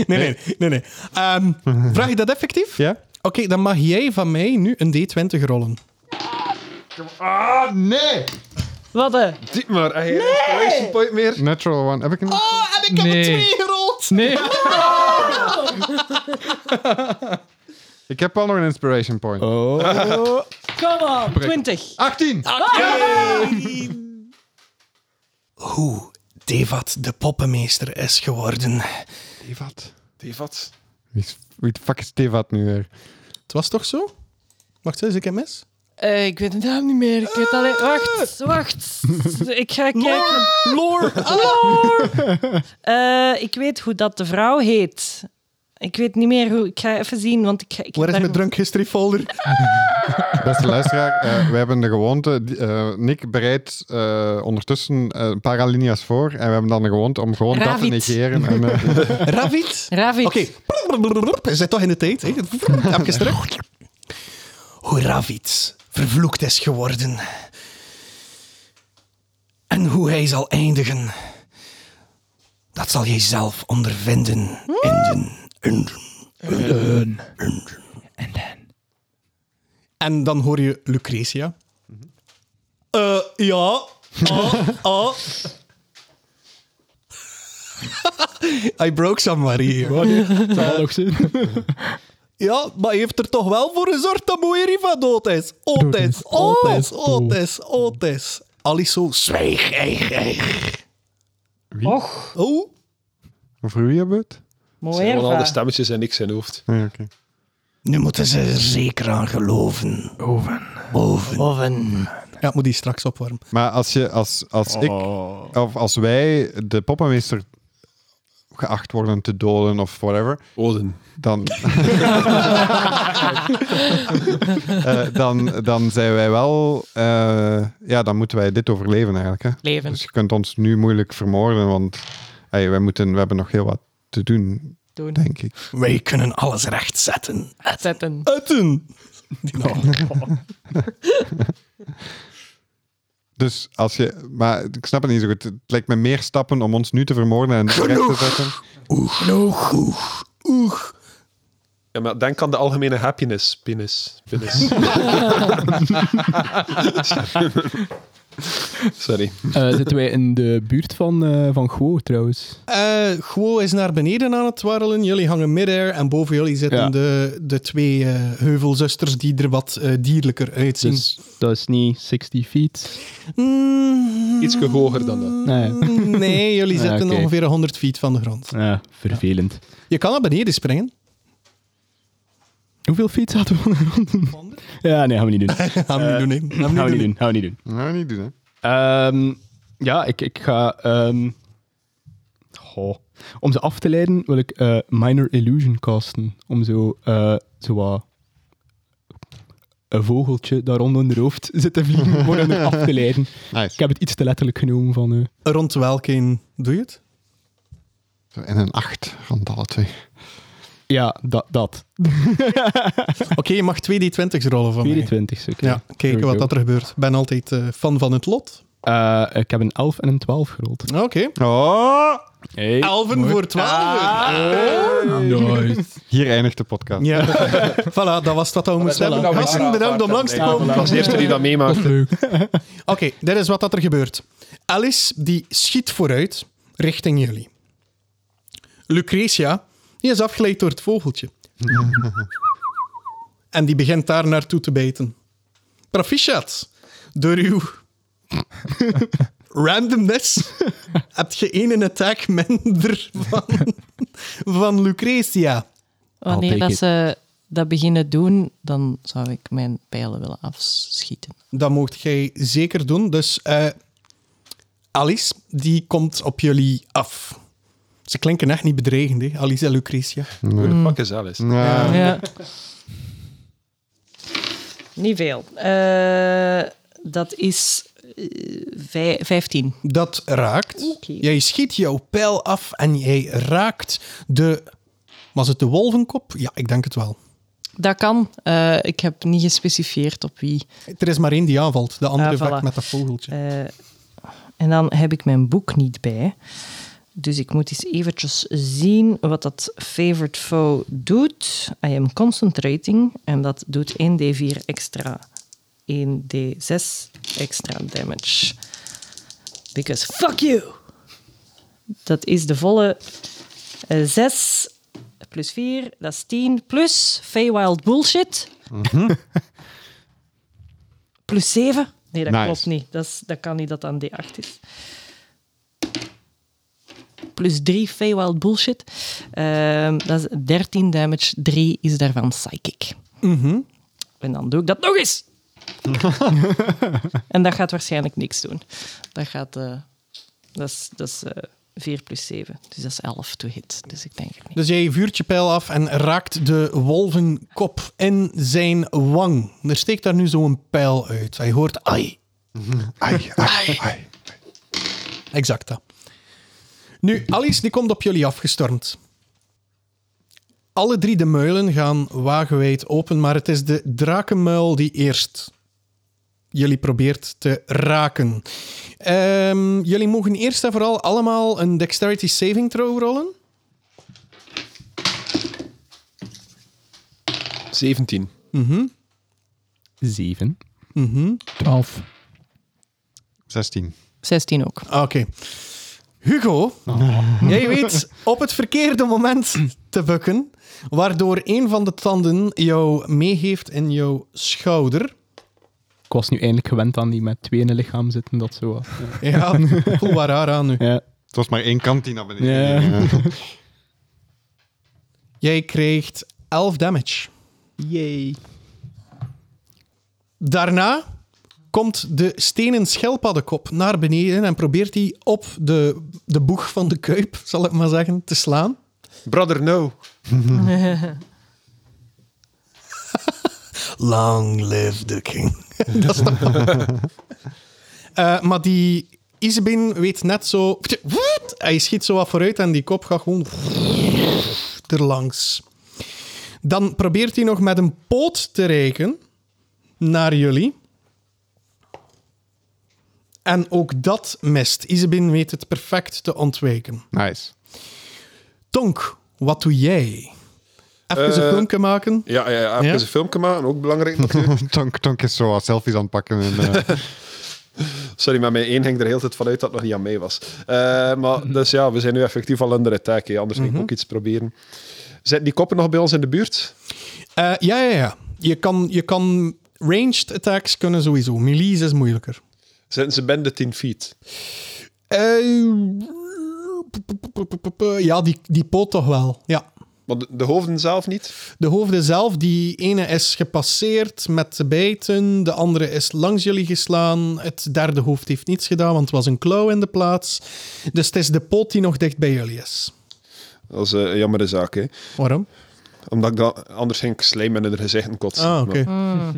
Speaker 3: nee, nee. nee. Ehm, vraag je dat effectief?
Speaker 2: Ja?
Speaker 3: Oké, dan mag jij van mij nu een D20 rollen.
Speaker 2: Ah, nee!
Speaker 1: Wat eh?
Speaker 4: Diep maar, hij heeft geen exclamation point meer.
Speaker 2: Natural one. Heb ik een...
Speaker 3: Oh, en ik
Speaker 7: heb een Nee. twee
Speaker 3: gerold.
Speaker 7: Nee.
Speaker 2: Ik heb wel nog een inspiration point.
Speaker 1: Come on, 20.
Speaker 2: 18!
Speaker 5: Ah.
Speaker 3: Hoe Devat de poppenmeester is geworden.
Speaker 2: Tevat.
Speaker 4: Die wat?
Speaker 2: Wie, is- wie de fuck is Tevat nu weer?
Speaker 3: Het was toch zo? Wacht eens, ik heb mis.
Speaker 5: Eh, ik weet de naam niet meer. Ik weet alleen... Wacht, wacht. Ik ga kijken.
Speaker 3: Lore.
Speaker 5: Eh, ik weet hoe dat de vrouw heet. Ik weet niet meer hoe... Ik ga even zien, want ik... ga- ik heb
Speaker 3: Waar is
Speaker 5: daar-
Speaker 3: mijn drunk history folder?
Speaker 2: Beste luisteraar, eh, we hebben de gewoonte. die- eh, Nick bereidt eh, ondertussen eh, een paar alinea's voor. En we hebben dan de gewoonte om gewoon dat te
Speaker 5: Ravid.
Speaker 2: negeren. En, eh,
Speaker 3: Ravid.
Speaker 5: Ravid.
Speaker 3: Oké. Hij zit toch in de tijd. hè? Even terug. Hoe Ravid vervloekt is geworden. En hoe hij zal eindigen. Dat zal jij zelf ondervinden. Enden. Enden.
Speaker 7: Leun.
Speaker 3: En dan hoor je Lucretia. Eh, ja. Ah, ah. I broke somebody here.
Speaker 6: Dat zal nog zijn.
Speaker 3: Ja, maar hij heeft er toch wel voor gezorgd dat Moeriva dood is. Otis, Otis, Otis, Otis. Aliso, zwijg, eig, eig.
Speaker 1: Och,
Speaker 3: Oh,
Speaker 2: over wie hebben we het?
Speaker 1: mooi
Speaker 4: Gewoon al de
Speaker 1: ervan.
Speaker 4: stemmetjes en niks in zijn hoofd.
Speaker 2: Nee, oké.
Speaker 3: nu moeten ze er zeker aan geloven. Oven. Oven. Ja, moet die straks opwarmen.
Speaker 2: Maar als, je, als, als, ik, of als wij de poppenmeester geacht worden te doden of whatever,
Speaker 4: Oden.
Speaker 2: dan, Eh, dan, dan zijn wij wel... eh, ja, dan moeten wij dit overleven eigenlijk. Hè?
Speaker 5: Leven.
Speaker 2: Dus je kunt ons nu moeilijk vermoorden, want hey, wij moeten, we hebben nog heel wat te doen,
Speaker 5: Doen.
Speaker 2: denk ik.
Speaker 3: Wij kunnen alles rechtzetten.
Speaker 5: Zetten.
Speaker 3: Uiten.
Speaker 2: Dus als je, maar ik snap het niet zo goed. Het lijkt me meer stappen om ons nu te vermoorden en recht te zetten.
Speaker 3: Oeg, oeg, oeg.
Speaker 4: Ja, maar denk aan de algemene happiness. Penis. Penis. Sorry.
Speaker 6: Eh, zitten wij in de buurt van, eh van Gwo trouwens?
Speaker 3: Eh, Guo is naar beneden aan het dwarrelen. Jullie hangen midair en boven jullie zitten
Speaker 6: Ja.
Speaker 3: de, de twee eh, heuvelzusters die er wat eh, dierlijker uitzien.
Speaker 6: Dus dat is niet 60 feet.
Speaker 3: Mm,
Speaker 4: Iets hoger dan dat.
Speaker 6: Nee.
Speaker 3: Nee, jullie
Speaker 6: Ah,
Speaker 3: zitten
Speaker 6: oké.
Speaker 3: ongeveer 100 feet van de grond.
Speaker 6: Ja, vervelend.
Speaker 3: Je kan naar beneden springen.
Speaker 6: Hoeveel fiets hadden we rond? Ja, nee, gaan we niet doen.
Speaker 3: Gaan we niet doen, hè? Gaan we
Speaker 6: Gaan we
Speaker 3: niet
Speaker 6: Eh, niet
Speaker 3: doen.
Speaker 6: doen. Gaan we niet doen.
Speaker 2: Nou, niet doen, hè.
Speaker 6: Ehm, ja, ik, ik ga. ehm, goh. Om ze af te leiden wil ik eh, Minor Illusion casten. Om zo, eh, zo wat. Een vogeltje daar rond hun hoofd zit te vliegen. Gewoon om hen af te leiden. Ik
Speaker 2: Nice.
Speaker 6: heb het iets te letterlijk genomen van. eh,
Speaker 3: Rond welke een doe je het?
Speaker 2: Zo, En een 8 rond alle twee.
Speaker 6: ja, dat. dat.
Speaker 3: Oké, je mag 2d20's rollen van mij.
Speaker 6: 24, oké.
Speaker 3: Oh, Ja,
Speaker 6: There
Speaker 3: kijken
Speaker 6: we
Speaker 3: wat
Speaker 6: go.
Speaker 3: dat er gebeurt. Ik ben altijd eh, fan van het lot.
Speaker 6: Eh, ik heb een 11 en een 12 gerold.
Speaker 3: Oké.
Speaker 2: Oh!
Speaker 3: Elven voor 12. Ah.
Speaker 6: Eh.
Speaker 7: Nice.
Speaker 2: Hier eindigt de podcast.
Speaker 3: Ja. voilà, dat was wat we moesten
Speaker 4: hebben we
Speaker 3: hebben.
Speaker 4: nou
Speaker 3: Gasten,
Speaker 4: gedaan.
Speaker 3: bedankt om langs te komen.
Speaker 4: Ik was de eerste die dat meemaakt.
Speaker 3: Oké, dit is wat dat er gebeurt. Alice die schiet vooruit richting jullie. Lucretia die is afgeleid door het vogeltje. en die begint daar naartoe te bijten. Proficiat, door uw randomness hebt je één attack minder van, van Lucretia.
Speaker 5: Wanneer
Speaker 6: take
Speaker 5: dat
Speaker 6: it.
Speaker 5: ze dat beginnen doen, dan zou ik mijn pijlen willen afschieten.
Speaker 3: Dat moogt jij zeker doen. Dus eh, Alice, die komt op jullie af. Ze klinken echt niet bedreigend, hè? Alice en Lucretia.
Speaker 4: Hoe de fuck is Alice?
Speaker 2: Ja.
Speaker 5: Ja. Niet veel. Eh, dat is eh, vij- 15.
Speaker 3: Dat raakt.
Speaker 5: Oké.
Speaker 3: Jij schiet jouw pijl af en jij raakt de... Was het de wolvenkop? Ja, ik denk het wel.
Speaker 5: Dat kan. Eh, ik heb niet gespecifieerd op wie.
Speaker 3: Er is maar één die aanvalt. De andere
Speaker 5: Ah,
Speaker 3: vak
Speaker 5: voilà.
Speaker 3: met dat vogeltje.
Speaker 5: Eh, en dan heb ik mijn boek niet bij. Dus ik moet eens eventjes zien wat dat favorite foe doet. I am concentrating. En dat doet 1d4 extra. 1d6 extra damage. Because fuck you! Dat is de volle 6 plus 4, dat is 10. Plus Feywild bullshit. plus 7. Nee, dat
Speaker 2: Nice.
Speaker 5: klopt niet. Dat, is, dat kan niet dat dat een d8 is. Plus 3 Feywild bullshit. Ehm, dat is 13 damage. 3 is daarvan psychic. En dan doe ik dat nog eens. en dat gaat waarschijnlijk niks doen. Dat gaat... eh, dat is, dat is eh, 4 plus 7. Dus dat is 11 to hit. Dus ik denk het niet.
Speaker 3: Dus jij vuurt je pijl af en raakt de wolvenkop in zijn wang. Er steekt daar nu zo'n pijl uit. Hij hoort ai.
Speaker 2: Ai, ai, ai.
Speaker 3: Exact dat. Nu, Alice die komt op jullie afgestormd. Alle drie de muilen gaan wagenwijd open, maar het is de drakenmuil die eerst jullie probeert te raken. Ehm, jullie mogen eerst en vooral allemaal een dexterity saving throw rollen.
Speaker 4: 17.
Speaker 6: 7.
Speaker 7: 12.
Speaker 2: 16.
Speaker 5: 16 ook.
Speaker 3: Ah, Oké. Hugo, jij weet op het verkeerde moment te bukken, waardoor een van de tanden jou meegeeft in jouw schouder.
Speaker 6: Ik was nu eindelijk gewend aan die met twee in het lichaam zitten. Dat zo. was.
Speaker 3: Ja, voel waar raar aan nu.
Speaker 6: Ja.
Speaker 2: Het was maar één kant die naar beneden
Speaker 6: Ja.
Speaker 2: ging, hè.
Speaker 3: Jij krijgt 11 damage.
Speaker 6: Yay.
Speaker 3: Daarna komt de stenen schelpaddenkop naar beneden en probeert die op de, de boeg van de kuip, zal ik maar zeggen, te slaan.
Speaker 4: Brother, no.
Speaker 3: Long live the king. dat is de- Eh, maar die Isabin weet net zo... Woet! Hij schiet zo wat vooruit en die kop gaat gewoon erlangs. Dan probeert hij nog met een poot te reiken naar jullie. En ook dat mist. Isabin weet het perfect te ontwijken.
Speaker 2: Nice.
Speaker 3: Tonk, wat doe jij? Even
Speaker 4: Eh,
Speaker 3: een filmpje maken.
Speaker 4: Ja, ja, ja, even
Speaker 3: Ja?
Speaker 4: een filmpje maken, ook belangrijk natuurlijk.
Speaker 2: Tonk, tonk is zo wat selfies aan het pakken. En, eh,
Speaker 4: Sorry, maar mijn één hing er heel tijd vanuit dat het nog niet aan mij was. Eh,
Speaker 3: Mhm.
Speaker 4: maar dus ja, we zijn nu effectief al under attack, hè. anders ging ik ook iets proberen. Zijn die koppen nog bij ons in de buurt?
Speaker 3: Eh, ja, ja, ja. Je kan, je kan ranged attacks kunnen sowieso. Melees is moeilijker.
Speaker 4: Zitten ze binnen de 10 feet?
Speaker 3: Eh, ja, die, die poot toch wel. Ja.
Speaker 4: Maar de, de hoofden zelf niet?
Speaker 3: De hoofden zelf, die ene is gepasseerd met de bijten, de andere is langs jullie geslaan. Het derde hoofd heeft niets gedaan, want er was een klauw in de plaats. Dus het is de pot die nog dicht bij jullie is.
Speaker 4: Dat is eh, een jammere zaak, hè.
Speaker 3: Waarom?
Speaker 4: Omdat ik dan, anders ging ik slijm in hun gezichten kotsen.
Speaker 3: Ah, oké.
Speaker 4: Maar-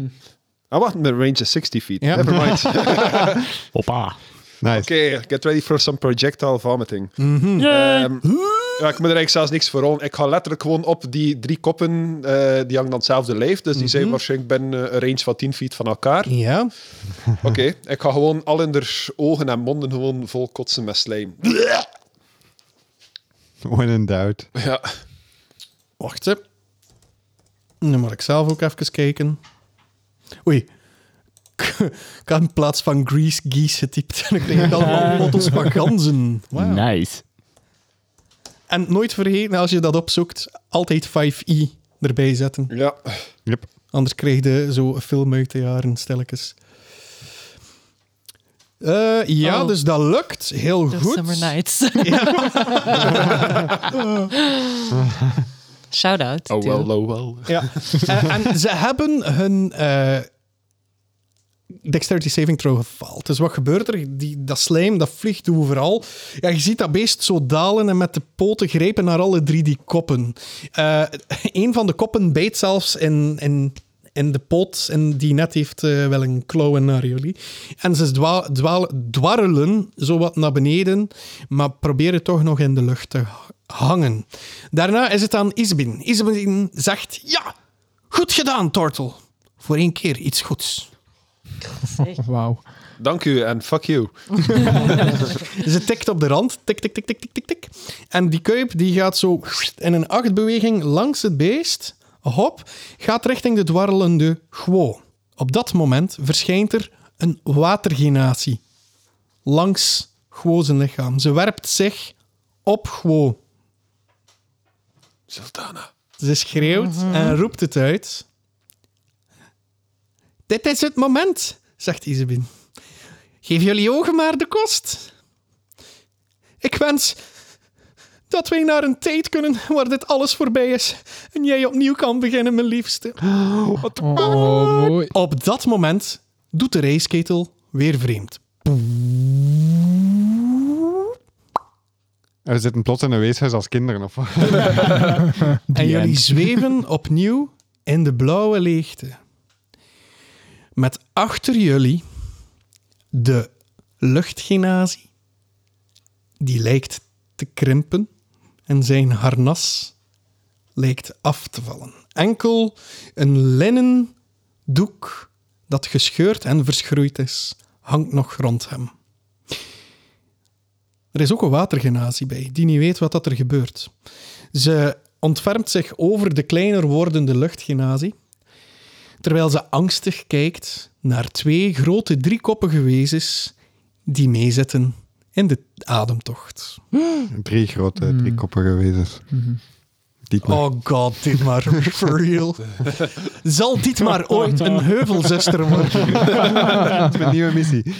Speaker 4: Ah, wacht, mijn range is 60 feet.
Speaker 3: Ja.
Speaker 4: Never mind. Oké,
Speaker 2: Hoppa. Nice.
Speaker 4: get ready for some projectile vomiting.
Speaker 3: Mhm.
Speaker 1: Yay.
Speaker 4: Ehm, ja, ik moet er eigenlijk zelfs niks voor rollen. Ik ga letterlijk gewoon op die drie koppen, eh, die hangen dan hetzelfde lijf. Dus die
Speaker 3: Mhm.
Speaker 4: zijn waarschijnlijk binnen eh, een range van 10 feet van elkaar.
Speaker 3: Ja.
Speaker 4: Oké, ik ga gewoon al in haar ogen en monden gewoon vol kotsen met slijm.
Speaker 2: When in doubt.
Speaker 4: Ja,
Speaker 3: Wacht, hè. Nu moet ik zelf ook even kijken. Oei. Ik had in plaats van grease geese getypt. En ik kreeg allemaal motto's van ganzen. Wauw.
Speaker 8: Nice.
Speaker 3: En nooit vergeten, als je dat opzoekt, altijd 5i erbij zetten.
Speaker 4: ja.
Speaker 2: Yep.
Speaker 3: Anders kreeg je zo een film uit de jaren, stilletjes. Eh, ja,
Speaker 5: Oh.
Speaker 3: dus dat lukt. Heel
Speaker 5: The
Speaker 3: goed.
Speaker 5: Summer Nights. Shout out.
Speaker 4: Oh,
Speaker 5: to-
Speaker 4: wel, oh, wel.
Speaker 3: Ja. Eh, en ze hebben hun eh, dexterity saving throw gefaald. Dus wat gebeurt er? Die, dat slijm, dat vliegt overal. Ja, je ziet dat beest zo dalen en met de poten grijpen naar alle drie die koppen. Eh een van de koppen bijt zelfs in, in, in de pot en die net heeft eh, wel een klauwen naar jullie. En ze dwa, dwaal, dwarrelen zowat naar beneden, maar proberen toch nog in de lucht te hangen. Daarna is het aan Isbin. Isbin zegt, ja, goed gedaan, Tortel. Voor één keer iets goeds.
Speaker 7: Wauw.
Speaker 4: Dank u en fuck you.
Speaker 3: Ze Dus tikt op de rand. Tik, tik, tik, tik, tik, tik, tik. En die kuip die gaat zo in een achtbeweging langs het beest. Hop. Gaat richting de dwarrelende gwo. Op dat moment verschijnt er een watergenatie. Langs gwo zijn lichaam. Ze werpt zich op gwo.
Speaker 4: Sultana.
Speaker 3: Ze schreeuwt en roept het uit. Dit is het moment, zegt Isabin. Geef jullie ogen maar de kost. Ik wens dat wij naar een tijd kunnen waar dit alles voorbij is en jij opnieuw kan beginnen, mijn liefste.
Speaker 7: Oh, mooi.
Speaker 3: Op dat moment doet de raceketel weer vreemd.
Speaker 2: En we zitten plots in een weeshuis als kinderen. Of... wat?
Speaker 3: en
Speaker 6: The
Speaker 3: jullie
Speaker 6: end.
Speaker 3: zweven opnieuw in de blauwe leegte. Met achter jullie de luchtgenazie. Die lijkt te krimpen en zijn harnas lijkt af te vallen. Enkel een linnen doek dat gescheurd en verschroeid is, hangt nog rond hem. Er is ook een watergenazie bij, die niet weet wat dat er gebeurt. Ze ontfermt zich over de kleiner wordende luchtgenazie, terwijl ze angstig kijkt naar twee grote driekoppige wezens die meezitten in de ademtocht.
Speaker 2: Drie grote,
Speaker 5: Mm.
Speaker 2: drie koppige wezens.
Speaker 5: Mhm.
Speaker 2: Dietmar.
Speaker 3: Oh god, dit maar for real. Zal dit maar ooit een heuvelzuster worden?
Speaker 2: Dat is mijn nieuwe missie.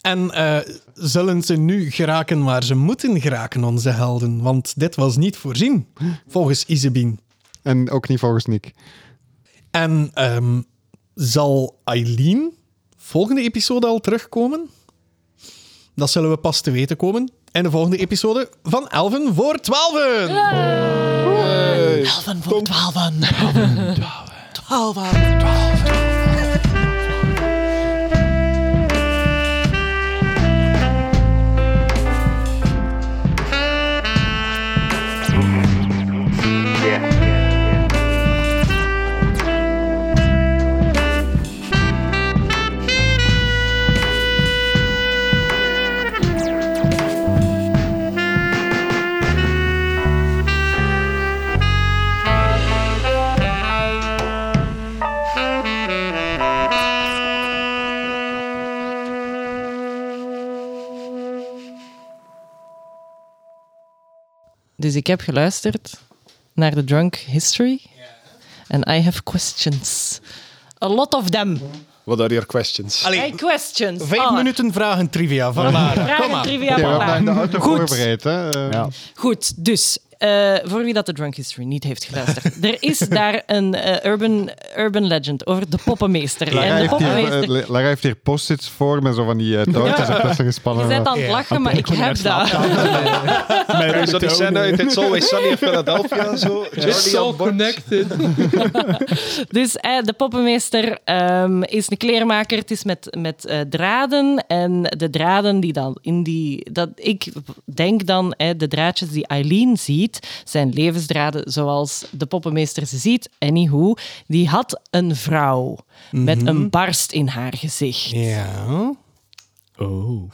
Speaker 3: En eh, zullen ze nu geraken waar ze moeten geraken, onze helden? Want dit was niet voorzien, volgens Isabine.
Speaker 2: En ook niet volgens Nick.
Speaker 3: En ehm, zal Eileen volgende episode al terugkomen? Dat zullen we pas te weten komen in de volgende episode van Elven voor Twaalfen.
Speaker 5: Elven voor twaalfen. Dus ik heb geluisterd naar de Drunk History. And I have questions. A lot of them.
Speaker 4: Wat are your questions?
Speaker 3: Allee,
Speaker 5: Hey, questions.
Speaker 3: vijf
Speaker 5: Alle.
Speaker 3: minuten vragen trivia. Van Lara.
Speaker 5: Vragen
Speaker 3: Kom maar.
Speaker 5: trivia.
Speaker 2: Oké, we hebben
Speaker 5: voilà.
Speaker 2: daar de auto
Speaker 5: Goed.
Speaker 2: voorbereid. Hè? Eh,
Speaker 8: Ja.
Speaker 5: Goed, dus eh, voor wie dat de Drunk History niet heeft geluisterd. er is daar een eh, urban, urban legend over de poppenmeester.
Speaker 2: Lara
Speaker 5: en de
Speaker 2: heeft, hier,
Speaker 5: poppenmeester...
Speaker 2: eh, Lara heeft hier post-its voor met zo van die eh touwtjes op dat ze
Speaker 5: Je
Speaker 2: gespannen
Speaker 5: bent aan
Speaker 2: worden.
Speaker 5: het lachen, maar ik heb dat.
Speaker 4: Kijk, zo die scène uit It's Always Sunny in Philadelphia. Zo.
Speaker 7: It's
Speaker 4: Charlie
Speaker 7: so
Speaker 4: on board.
Speaker 7: connected.
Speaker 5: Dus eh, de poppenmeester ehm, is een kleermaker. Het is met, met eh, draden. En de draden die dan in die. Dat, ik denk dan, eh, de draadjes die Eileen ziet, zijn levensdraden zoals de poppenmeester ze ziet. Anywho, die had een vrouw met een barst in haar gezicht.
Speaker 3: Ja.
Speaker 6: Oh.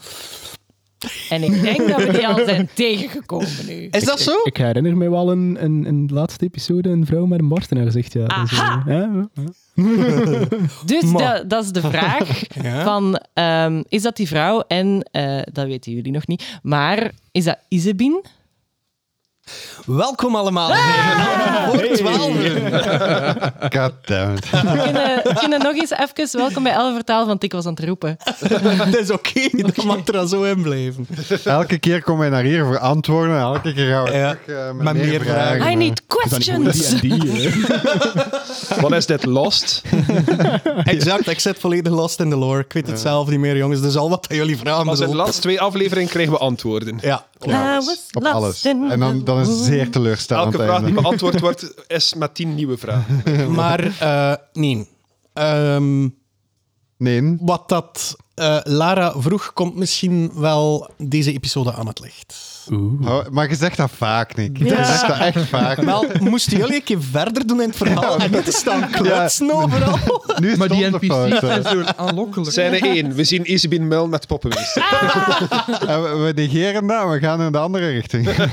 Speaker 5: En ik denk dat we die al zijn tegengekomen nu.
Speaker 3: Is dat zo?
Speaker 6: Ik herinner me wel een, een, een laatste episode, een vrouw met een barst in haar gezicht. Ja,
Speaker 3: Ah.
Speaker 6: Dat is, eh,
Speaker 5: Aha!
Speaker 6: ja,
Speaker 5: Dus
Speaker 3: Maar-
Speaker 5: da- dat is de vraag van, ehm, is dat die vrouw? En eh, dat weten jullie nog niet. Maar is dat Isabin?
Speaker 3: Welkom allemaal. Voor 12.
Speaker 2: God damn it.
Speaker 5: kunnen, kunnen nog eens even welkom bij Elf Vertaal, want ik was aan het roepen.
Speaker 3: Dat is oké, dat mag er dan zo in blijven.
Speaker 2: Elke keer komen wij naar hier voor antwoorden. en Elke keer gaan we
Speaker 3: Ja.
Speaker 2: terug eh, met,
Speaker 3: Met
Speaker 2: meer,
Speaker 3: meer
Speaker 2: vragen.
Speaker 5: I need questions!
Speaker 6: die en die. eh. hè.
Speaker 4: Wat is dit, Lost?
Speaker 3: Exact, ik zit volledig lost in de lore. Ik weet het zelf niet meer, jongens. Dus al wat aan jullie vragen
Speaker 4: Als in de
Speaker 3: bedoelt.
Speaker 4: laatste twee afleveringen kregen we antwoorden.
Speaker 3: Ja.
Speaker 5: I was
Speaker 2: Op
Speaker 5: lost
Speaker 2: alles.
Speaker 5: in
Speaker 2: En dan, dan is het zeer teleurstellend.
Speaker 4: Elke vraag die
Speaker 2: einde.
Speaker 4: beantwoord wordt, is met tien nieuwe vragen.
Speaker 3: Maar, eh, nee. Ehm,
Speaker 2: Nee.
Speaker 3: wat dat eh, Lara vroeg, komt misschien wel deze episode aan het licht.
Speaker 2: Oh, maar je zegt dat vaak, Nick. Je zegt dat echt vaak.
Speaker 3: Wel, moesten jullie een keer verder doen in het verhaal en dit is dan klutsen overal?
Speaker 2: Nu is
Speaker 7: Maar
Speaker 2: het
Speaker 7: die
Speaker 2: onze
Speaker 7: NPC's
Speaker 2: fout,
Speaker 7: zijn
Speaker 2: hè.
Speaker 7: zo aanlokkelijk.
Speaker 4: Scène 1. We zien Isabin Mul met poppenmeester.
Speaker 2: En we, we negeren dat en we gaan in de andere richting.